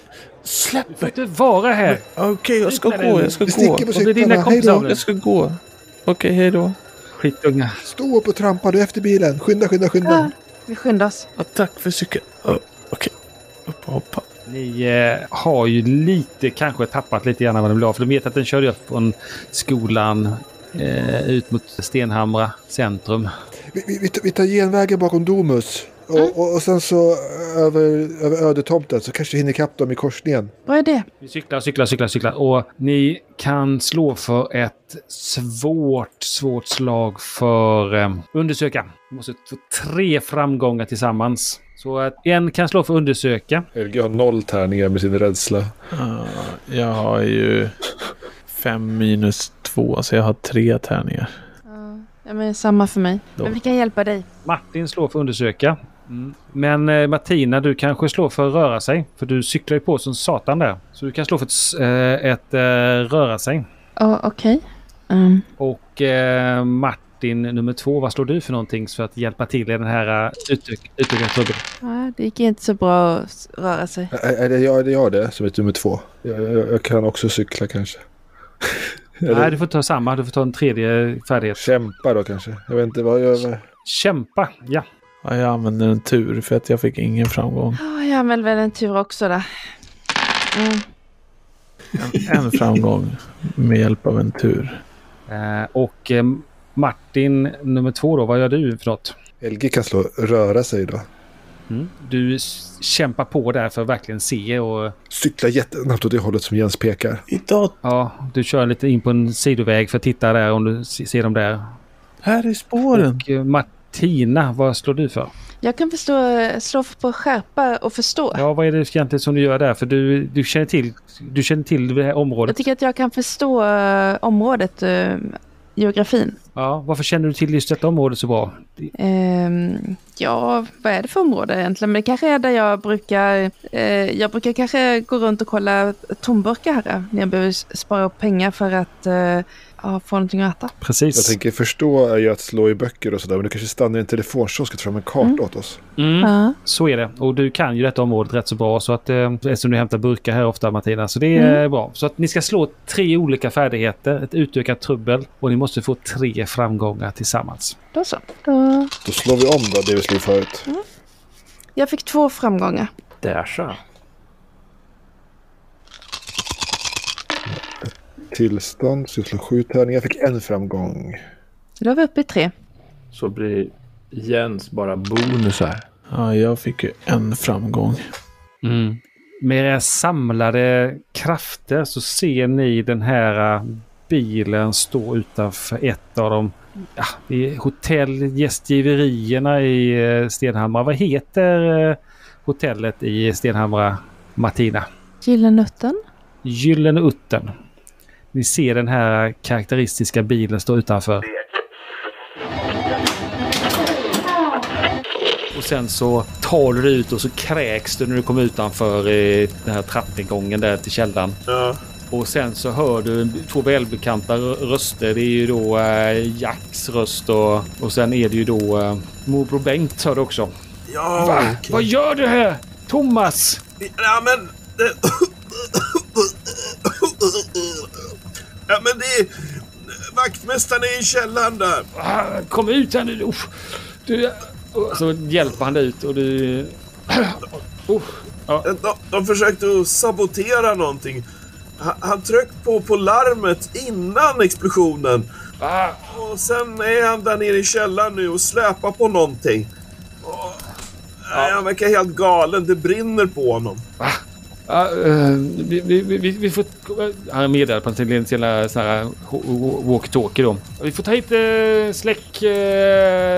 Speaker 5: Släpp
Speaker 2: Du
Speaker 5: mig!
Speaker 2: får inte vara här!
Speaker 5: Okej, jag ska
Speaker 2: Släpp mig
Speaker 5: gå.
Speaker 2: nu.
Speaker 5: Jag ska
Speaker 6: Vi sticker
Speaker 5: gå.
Speaker 6: på
Speaker 2: Och det är
Speaker 6: cyklarna,
Speaker 2: dina
Speaker 6: hej
Speaker 2: kompisar
Speaker 6: då!
Speaker 2: nu.
Speaker 5: Jag ska gå. Okej, hej då.
Speaker 2: Skitunga.
Speaker 6: Stå upp och trampa, du är efter bilen. Skynda, skynda,
Speaker 3: Ja,
Speaker 6: skynda.
Speaker 3: vi skyndar oss.
Speaker 5: Ja, tack för cykeln. Ja, Okej. Upp och hoppa.
Speaker 2: Ni eh, har ju lite kanske tappat lite grann vad den blev av. För de vet att den körde upp från skolan eh, ut mot Stenhamra centrum.
Speaker 6: Vi, vi, vi, tar- vi tar genvägen bakom Domus.
Speaker 2: Mm.
Speaker 6: Och, och, och sen så över, över ödetomten så kanske vi hinner ikapp dem i korsningen.
Speaker 3: Vad är det?
Speaker 2: Ni cyklar, cyklar, cyklar, cyklar. Och ni kan slå för ett svårt, svårt slag för eh, undersöka. Ni måste få tre framgångar tillsammans. Så att en kan slå för undersöka.
Speaker 6: LG har noll tärningar med sin rädsla.
Speaker 5: Ja, jag har ju fem minus två, så jag har tre tärningar.
Speaker 3: Ja, men samma för mig.
Speaker 5: Då.
Speaker 3: Men vi kan hjälpa dig.
Speaker 2: Martin slår för undersöka. Men eh, Martina, du kanske slår för att röra sig. För du cyklar ju på som satan där. Så du kan slå för ett, s- eh, ett eh, röra sig.
Speaker 3: Ja, Okej. Ehm,
Speaker 2: Och eh, Martin nummer två, vad slår du för någonting för att hjälpa till i den här eh, utök- utökade klubben?
Speaker 3: ja, det gick inte så bra att s- röra sig.
Speaker 6: Är, är, det jag, är det jag det som är nummer två? Jag, jag, jag kan också cykla kanske. Eller
Speaker 2: Nej, du får ta samma. Du får ta en tredje färdighet.
Speaker 6: Kämpa då kanske. Jag vet inte vad jag... vad-
Speaker 2: Kämpa, ja.
Speaker 5: Ja, jag använder en tur för att jag fick ingen framgång.
Speaker 3: Ja, jag använder väl en tur också där. Mm.
Speaker 5: En framgång med hjälp av en tur.
Speaker 2: Eh, och eh, Martin nummer två då, vad gör du för något?
Speaker 6: LG kan slå röra sig då.
Speaker 2: Mm. Du s- kämpar på där för att verkligen se och
Speaker 6: Cykla jättenabbt åt det hållet som Jens pekar.
Speaker 5: Idag,
Speaker 2: ja, du kör lite in på en sidoväg för att titta där om du s- ser dem där.
Speaker 5: här i spåren.
Speaker 2: Och eh, Martina, vad slår du för?
Speaker 3: Jag kan förstå, slå på skärpa och förstå.
Speaker 2: Ja, vad är det egentligen som du gör där? För du, du, känner, till, du känner till det här
Speaker 3: Jag
Speaker 2: området.
Speaker 3: tycker att jag kan förstå eh, området, eh, geografin.
Speaker 2: Ja, varför känner du till just detta område så bra?
Speaker 3: Ehm, ja, vad är det för område egentligen? Men det kanske är där jag brukar... eh, jag brukar kanske gå runt och kolla tomburkar här eh, när jag behöver s- spara upp pengar för att eh, ja, få någonting att äta.
Speaker 6: Jag
Speaker 2: Precis.
Speaker 6: tänker förstå är ju att slå i böcker och sådär. Men du kanske stannar i en telefonkiosk och tar fram en karta åt oss.
Speaker 2: Mm.
Speaker 3: Ja.
Speaker 2: Så är det. Och du kan ju detta området rätt så bra. Så att, eh, eftersom du hämtar burkar här ofta Martina. Så det är eh, bra. Så att ni ska slå tre olika färdigheter. Ett utökat trubbel. Och ni måste få tre framgångar tillsammans.
Speaker 3: Då så. Då.
Speaker 6: Då slår vi om då det vi slog förut.
Speaker 3: Jag fick två framgångar.
Speaker 4: Där så.
Speaker 6: Tillstånd, så jag slår sju tärningar. Jag fick en framgång.
Speaker 3: Då är vi uppe i tre.
Speaker 4: Så blir Jens bara bonusar.
Speaker 5: Ja, jag fick ju en framgång.
Speaker 2: Med era samlade krafter så ser ni den här eh, bilen stå utanför ett av de ja, i hotell, gästgiverierna i eh, Stenhamra. Vad heter eh, hotellet i Stenhamra, Martina?
Speaker 3: Gyllenötten.
Speaker 2: Gyllene Uttern. Ni ser den här karaktäristiska bilen stå utanför. Och sen så tar du dig ut och så kräks du när du kommer utanför eh, den här trappnedgången där till källaren.
Speaker 7: Ja.
Speaker 2: Och sen så hör du två välbekanta rö- röster. Det är ju då eh, Jacks röst och, och sen är det ju då eh, morbror Bengt hör du också.
Speaker 7: Ja, okej.
Speaker 2: Vad gör du här? Thomas!
Speaker 7: Ja, men... det- Ja, men det... är- Vaktmästaren är i källaren där.
Speaker 2: Ah, Kom ut här nu! Uff. Du, eh, Och så hjälper han dig ut och du... Uff.
Speaker 7: Eh, De, de försökte att sabotera någonting. Han, han tryckte på, på larmet innan explosionen.
Speaker 2: Ah,
Speaker 7: Och sen är han där nere i källaren nu och släpar på någonting. Och, nej, han verkar helt galen. Det brinner på honom.
Speaker 2: ah, eh, vi, vi, vi, vi får... Han meddelar på sin lilla sån här ho- ho- walkie-talkie då. Vi får ta hit eh,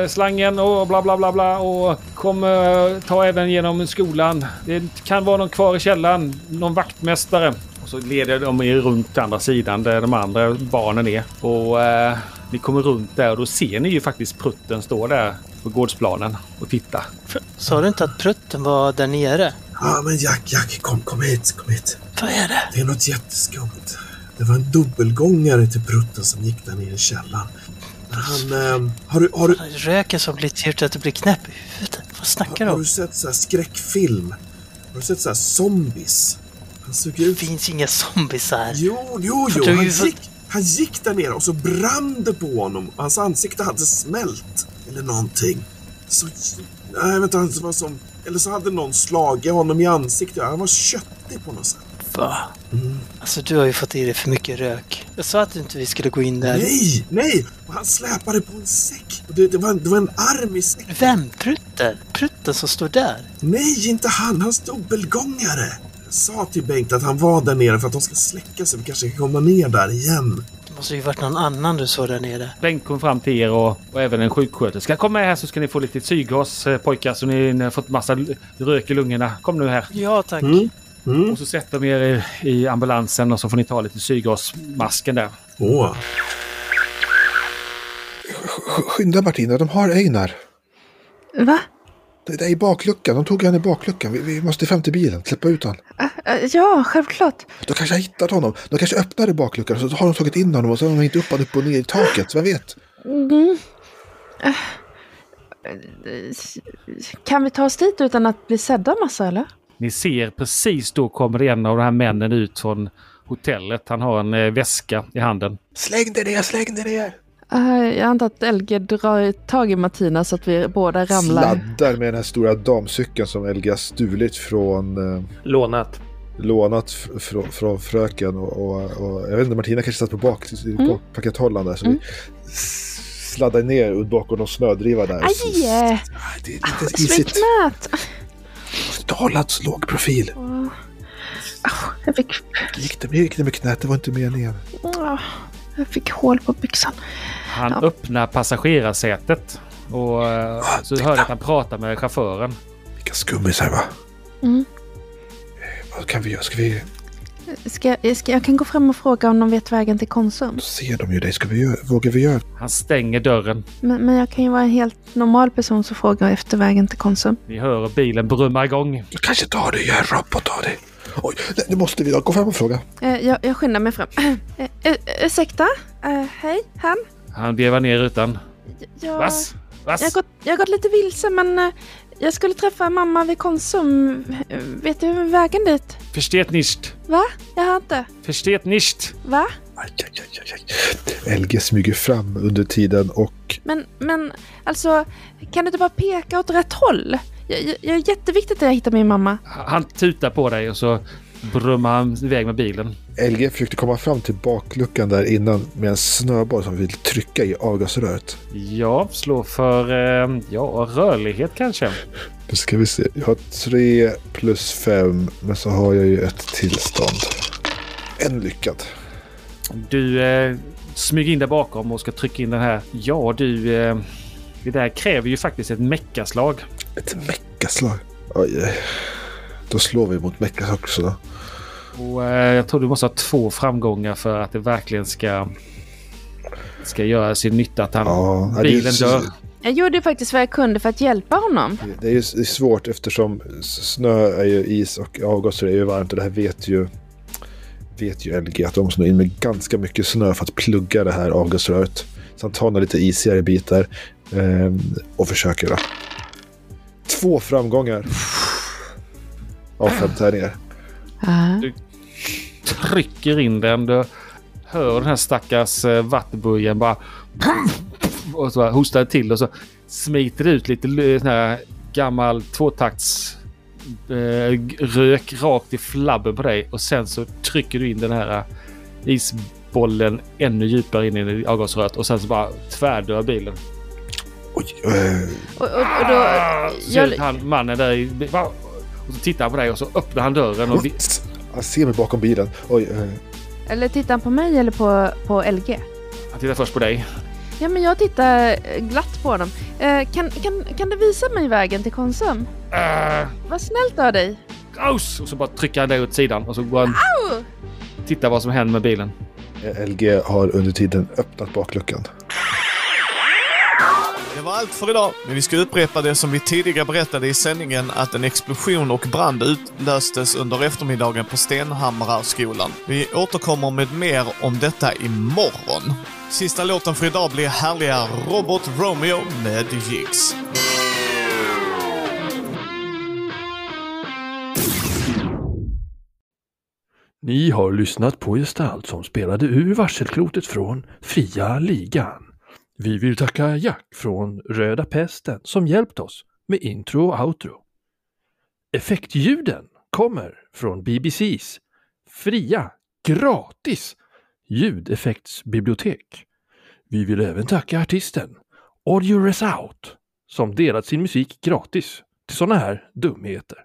Speaker 2: släckslangen och bla bla bla bla och kom eh, ta även genom skolan. Det kan vara någon kvar i källaren. Någon vaktmästare. Och så leder de er runt till andra sidan där de andra barnen är. Och eh, ni kommer runt där och då ser ni ju faktiskt prutten stå där på gårdsplanen och titta.
Speaker 8: Pr- Sa du inte att prutten var där nere?
Speaker 7: Ja, men Jack, Jack, kom, kom hit, kom hit.
Speaker 8: Vad är det?
Speaker 7: Det är något jätteskumt. Det var en dubbelgångare till prutten som gick där nere i källaren. Men Han, ehm, har, du, har, du,
Speaker 8: Röken som blir till att du blir knäpp i huvudet. Vad snackar du
Speaker 7: har du
Speaker 8: om?
Speaker 7: sett så här skräckfilm? Har du sett så här zombies? Han suger
Speaker 8: Det
Speaker 7: ut...
Speaker 8: finns inga zombies här.
Speaker 7: Jo, jo,
Speaker 8: För
Speaker 7: jo.
Speaker 8: du är
Speaker 7: Han
Speaker 8: ju så-
Speaker 7: gick, han gick där nere och så brann det på honom. Och Hans ansikte hade smält. Eller någonting. Så... Nej, vänta. Det var som... Eller så hade någon slagit honom i ansiktet. Han var köttig på något sätt.
Speaker 8: Va? Alltså du har ju fått i dig för mycket rök. Jag sa att inte vi skulle gå in där.
Speaker 7: Nej, nej! Och han släpade på en säck. Och Det, det, var, en- det var en arm i säck.
Speaker 8: Vem? Prutten? Prutten som står där?
Speaker 7: Nej, inte han. Hans dubbelgångare. Jag sa till Bengt att han var där nere för att de ska släcka sig. Vi kanske kan komma ner där igen.
Speaker 8: Det måste ju varit någon annan du såg där nere.
Speaker 2: Bengt kom fram till er och, och även en sjuksköterska. Kom med här så ska ni få lite syrgas eh, pojkar så ni, ni har fått massa l- rök i lungorna. Kom nu här.
Speaker 8: Ja tack.
Speaker 3: Mm.
Speaker 2: Och så sätter de er i, i ambulansen och så får ni ta lite syrgasmasken där.
Speaker 7: Åh.
Speaker 6: Skynda Martina, de har Einar.
Speaker 3: Va?
Speaker 6: Det där är i bakluckan. De tog han i bakluckan. Vi, vi måste fram till bilen. Släppa ut han.
Speaker 3: Eh, Ja, självklart.
Speaker 6: De kanske har hittat honom. De kanske öppnade bakluckan och så har de tagit in honom och så har de hängt upp honom upp och ner i taket. Vem vet?
Speaker 3: Mm. Eh, Kan vi ta oss dit utan att bli sedda massa eller?
Speaker 2: Ni ser precis då kommer en av de här männen ut från hotellet. Han har en eh, väska i handen.
Speaker 6: Släng dig ner, släng dig ner!
Speaker 3: Eh, jag antar att LG drar tag i Martina så att vi båda ramlar.
Speaker 6: Sladdar med den här stora damcykeln som LG har stulit från eh,
Speaker 4: Lånat.
Speaker 6: lånat f- fr- från fröken och, och, och jag vet inte, Martina kanske satt på bak, på pakethållaren där så vi s- sladdade ner ut bakom någon snödriva där. Så-
Speaker 3: Aj! eh,
Speaker 6: Ah, Det är lite
Speaker 3: Slå i
Speaker 6: isigt.
Speaker 3: knät!
Speaker 6: Måste hålla en låg profil.
Speaker 3: Åh, Ah, Jag fick,
Speaker 6: Gick det, gick det med knät? Det var inte meningen.
Speaker 3: åh, Ah, jag fick hål på byxan.
Speaker 2: Han
Speaker 3: Ja.
Speaker 2: öppnar passagerarsätet. Och eh, så hör jag att han pratar med chauffören.
Speaker 6: Vilka skummisar va?
Speaker 3: Mm.
Speaker 6: Eh, Vad kan vi göra? Ska vi...
Speaker 3: Ska, jag- ska, jag kan gå fram och fråga om de vet vägen till Konsum.
Speaker 6: Då ser de ju dig. Ska vi göra... Vågar vi göra?
Speaker 2: Han stänger dörren.
Speaker 3: Men, men jag kan ju vara en helt normal person som frågar efter vägen till Konsum.
Speaker 2: Ni hör hur bilen brumma igång.
Speaker 6: Du kanske tar det. Gör robot av dig. Oj, nej, nu måste vi då. Gå fram och fråga.
Speaker 3: Eh, jag, jag skyndar mig fram. Eh, eh, ursäkta? Eh, hej, han?
Speaker 2: Han vevar ner rutan.
Speaker 3: Jag,
Speaker 2: Vass? Vass?
Speaker 3: jag, har gått, jag har gått lite vilse men eh, jag skulle träffa mamma vid Konsum. Eh, Vet du vägen dit?
Speaker 2: Försteht nicht.
Speaker 3: Va? Jag har inte.
Speaker 2: Försteht nicht.
Speaker 3: Va?
Speaker 6: Aj, aj, aj, aj, aj. LG smyger fram under tiden och...
Speaker 3: Men, men alltså, kan du inte bara peka åt rätt håll? Jag, jag, jag är jätteviktigt att jag hittar min mamma.
Speaker 2: Han tutar på dig och så brummar han iväg med bilen.
Speaker 6: LG försökte komma fram till bakluckan där innan med en snöboll som vill trycka i avgasröret.
Speaker 2: Ja, slå för eh, ja, rörlighet kanske.
Speaker 6: Nu ska vi se. Jag har tre plus fem, men så har jag ju ett tillstånd. En lyckad.
Speaker 2: Du eh, smyger in där bakom och ska trycka in den här. Ja, du... Eh, det där kräver ju faktiskt ett meckaslag.
Speaker 6: Ett meckaslag. Oj, oj. Då slår vi mot meckas också då.
Speaker 2: Och eh, jag tror du måste ha två framgångar för att det verkligen ska... Ska göra sin nytta att han...
Speaker 6: Ja, nej,
Speaker 2: bilen
Speaker 6: det,
Speaker 2: dör.
Speaker 6: är,
Speaker 3: Jag gjorde ju faktiskt vad jag kunde för att hjälpa honom.
Speaker 6: det är ju s- det är svårt eftersom s- snö är ju is och avgaser är ju varmt och det här vet ju vet ju LG att de måste nå in med ganska mycket snö för att plugga det här avgasröret. Så han tar några lite isigare bitar ehm, och försöker då. Två framgångar. Av fem tärningar.
Speaker 2: trycker in den. Du hör den här stackars eh, vattenburgen bara... Och så bara hostar det till och så smiter det ut lite l- sån här gammal tvåtakts eh, g- rök rakt i flabben på dig och sen så trycker du in den här eh, isbollen ännu djupare in i avgasröret och sen så bara tvärdör bilen.
Speaker 6: Oj, eh,
Speaker 3: Och, och, och då...
Speaker 2: Ah! Så ser
Speaker 3: Jag,
Speaker 2: du han, mannen där i... va? Och så tittar han på dig och så öppnar han dörren och vi,
Speaker 6: han ser mig bakom bilen. Oj, eh,
Speaker 3: eller tittar han på mig eller på, på LG?
Speaker 2: han tittar först på dig.
Speaker 3: Ja, men jag tittar eh, glatt på honom. Eh, kan, kan, kan du visa mig vägen till Konsum?
Speaker 2: Äh,
Speaker 3: Vad snällt av dig.
Speaker 2: Aus! Och så bara trycker han dig åt sidan och så går han...
Speaker 3: Au!
Speaker 2: Titta vad som händer med bilen.
Speaker 6: LG har under tiden öppnat bakluckan.
Speaker 1: Det var allt för idag, men vi ska upprepa det som vi tidigare berättade i sändningen att en explosion och brand utlöstes under eftermiddagen på Stenhamrarskolan. Vi återkommer med mer om detta imorgon. Sista låten för idag blir härliga Robot Romeo med Jigs.
Speaker 4: Ni har lyssnat på gestalt som spelade ur varselklotet från Fria Ligan. Vi vill tacka Jack från Röda Pesten som hjälpt oss med intro och outro. Effektljuden kommer från BBCs fria, gratis ljudeffektsbibliotek. Vi vill även tacka artisten Audio Resout som delat sin musik gratis till sådana här dumheter.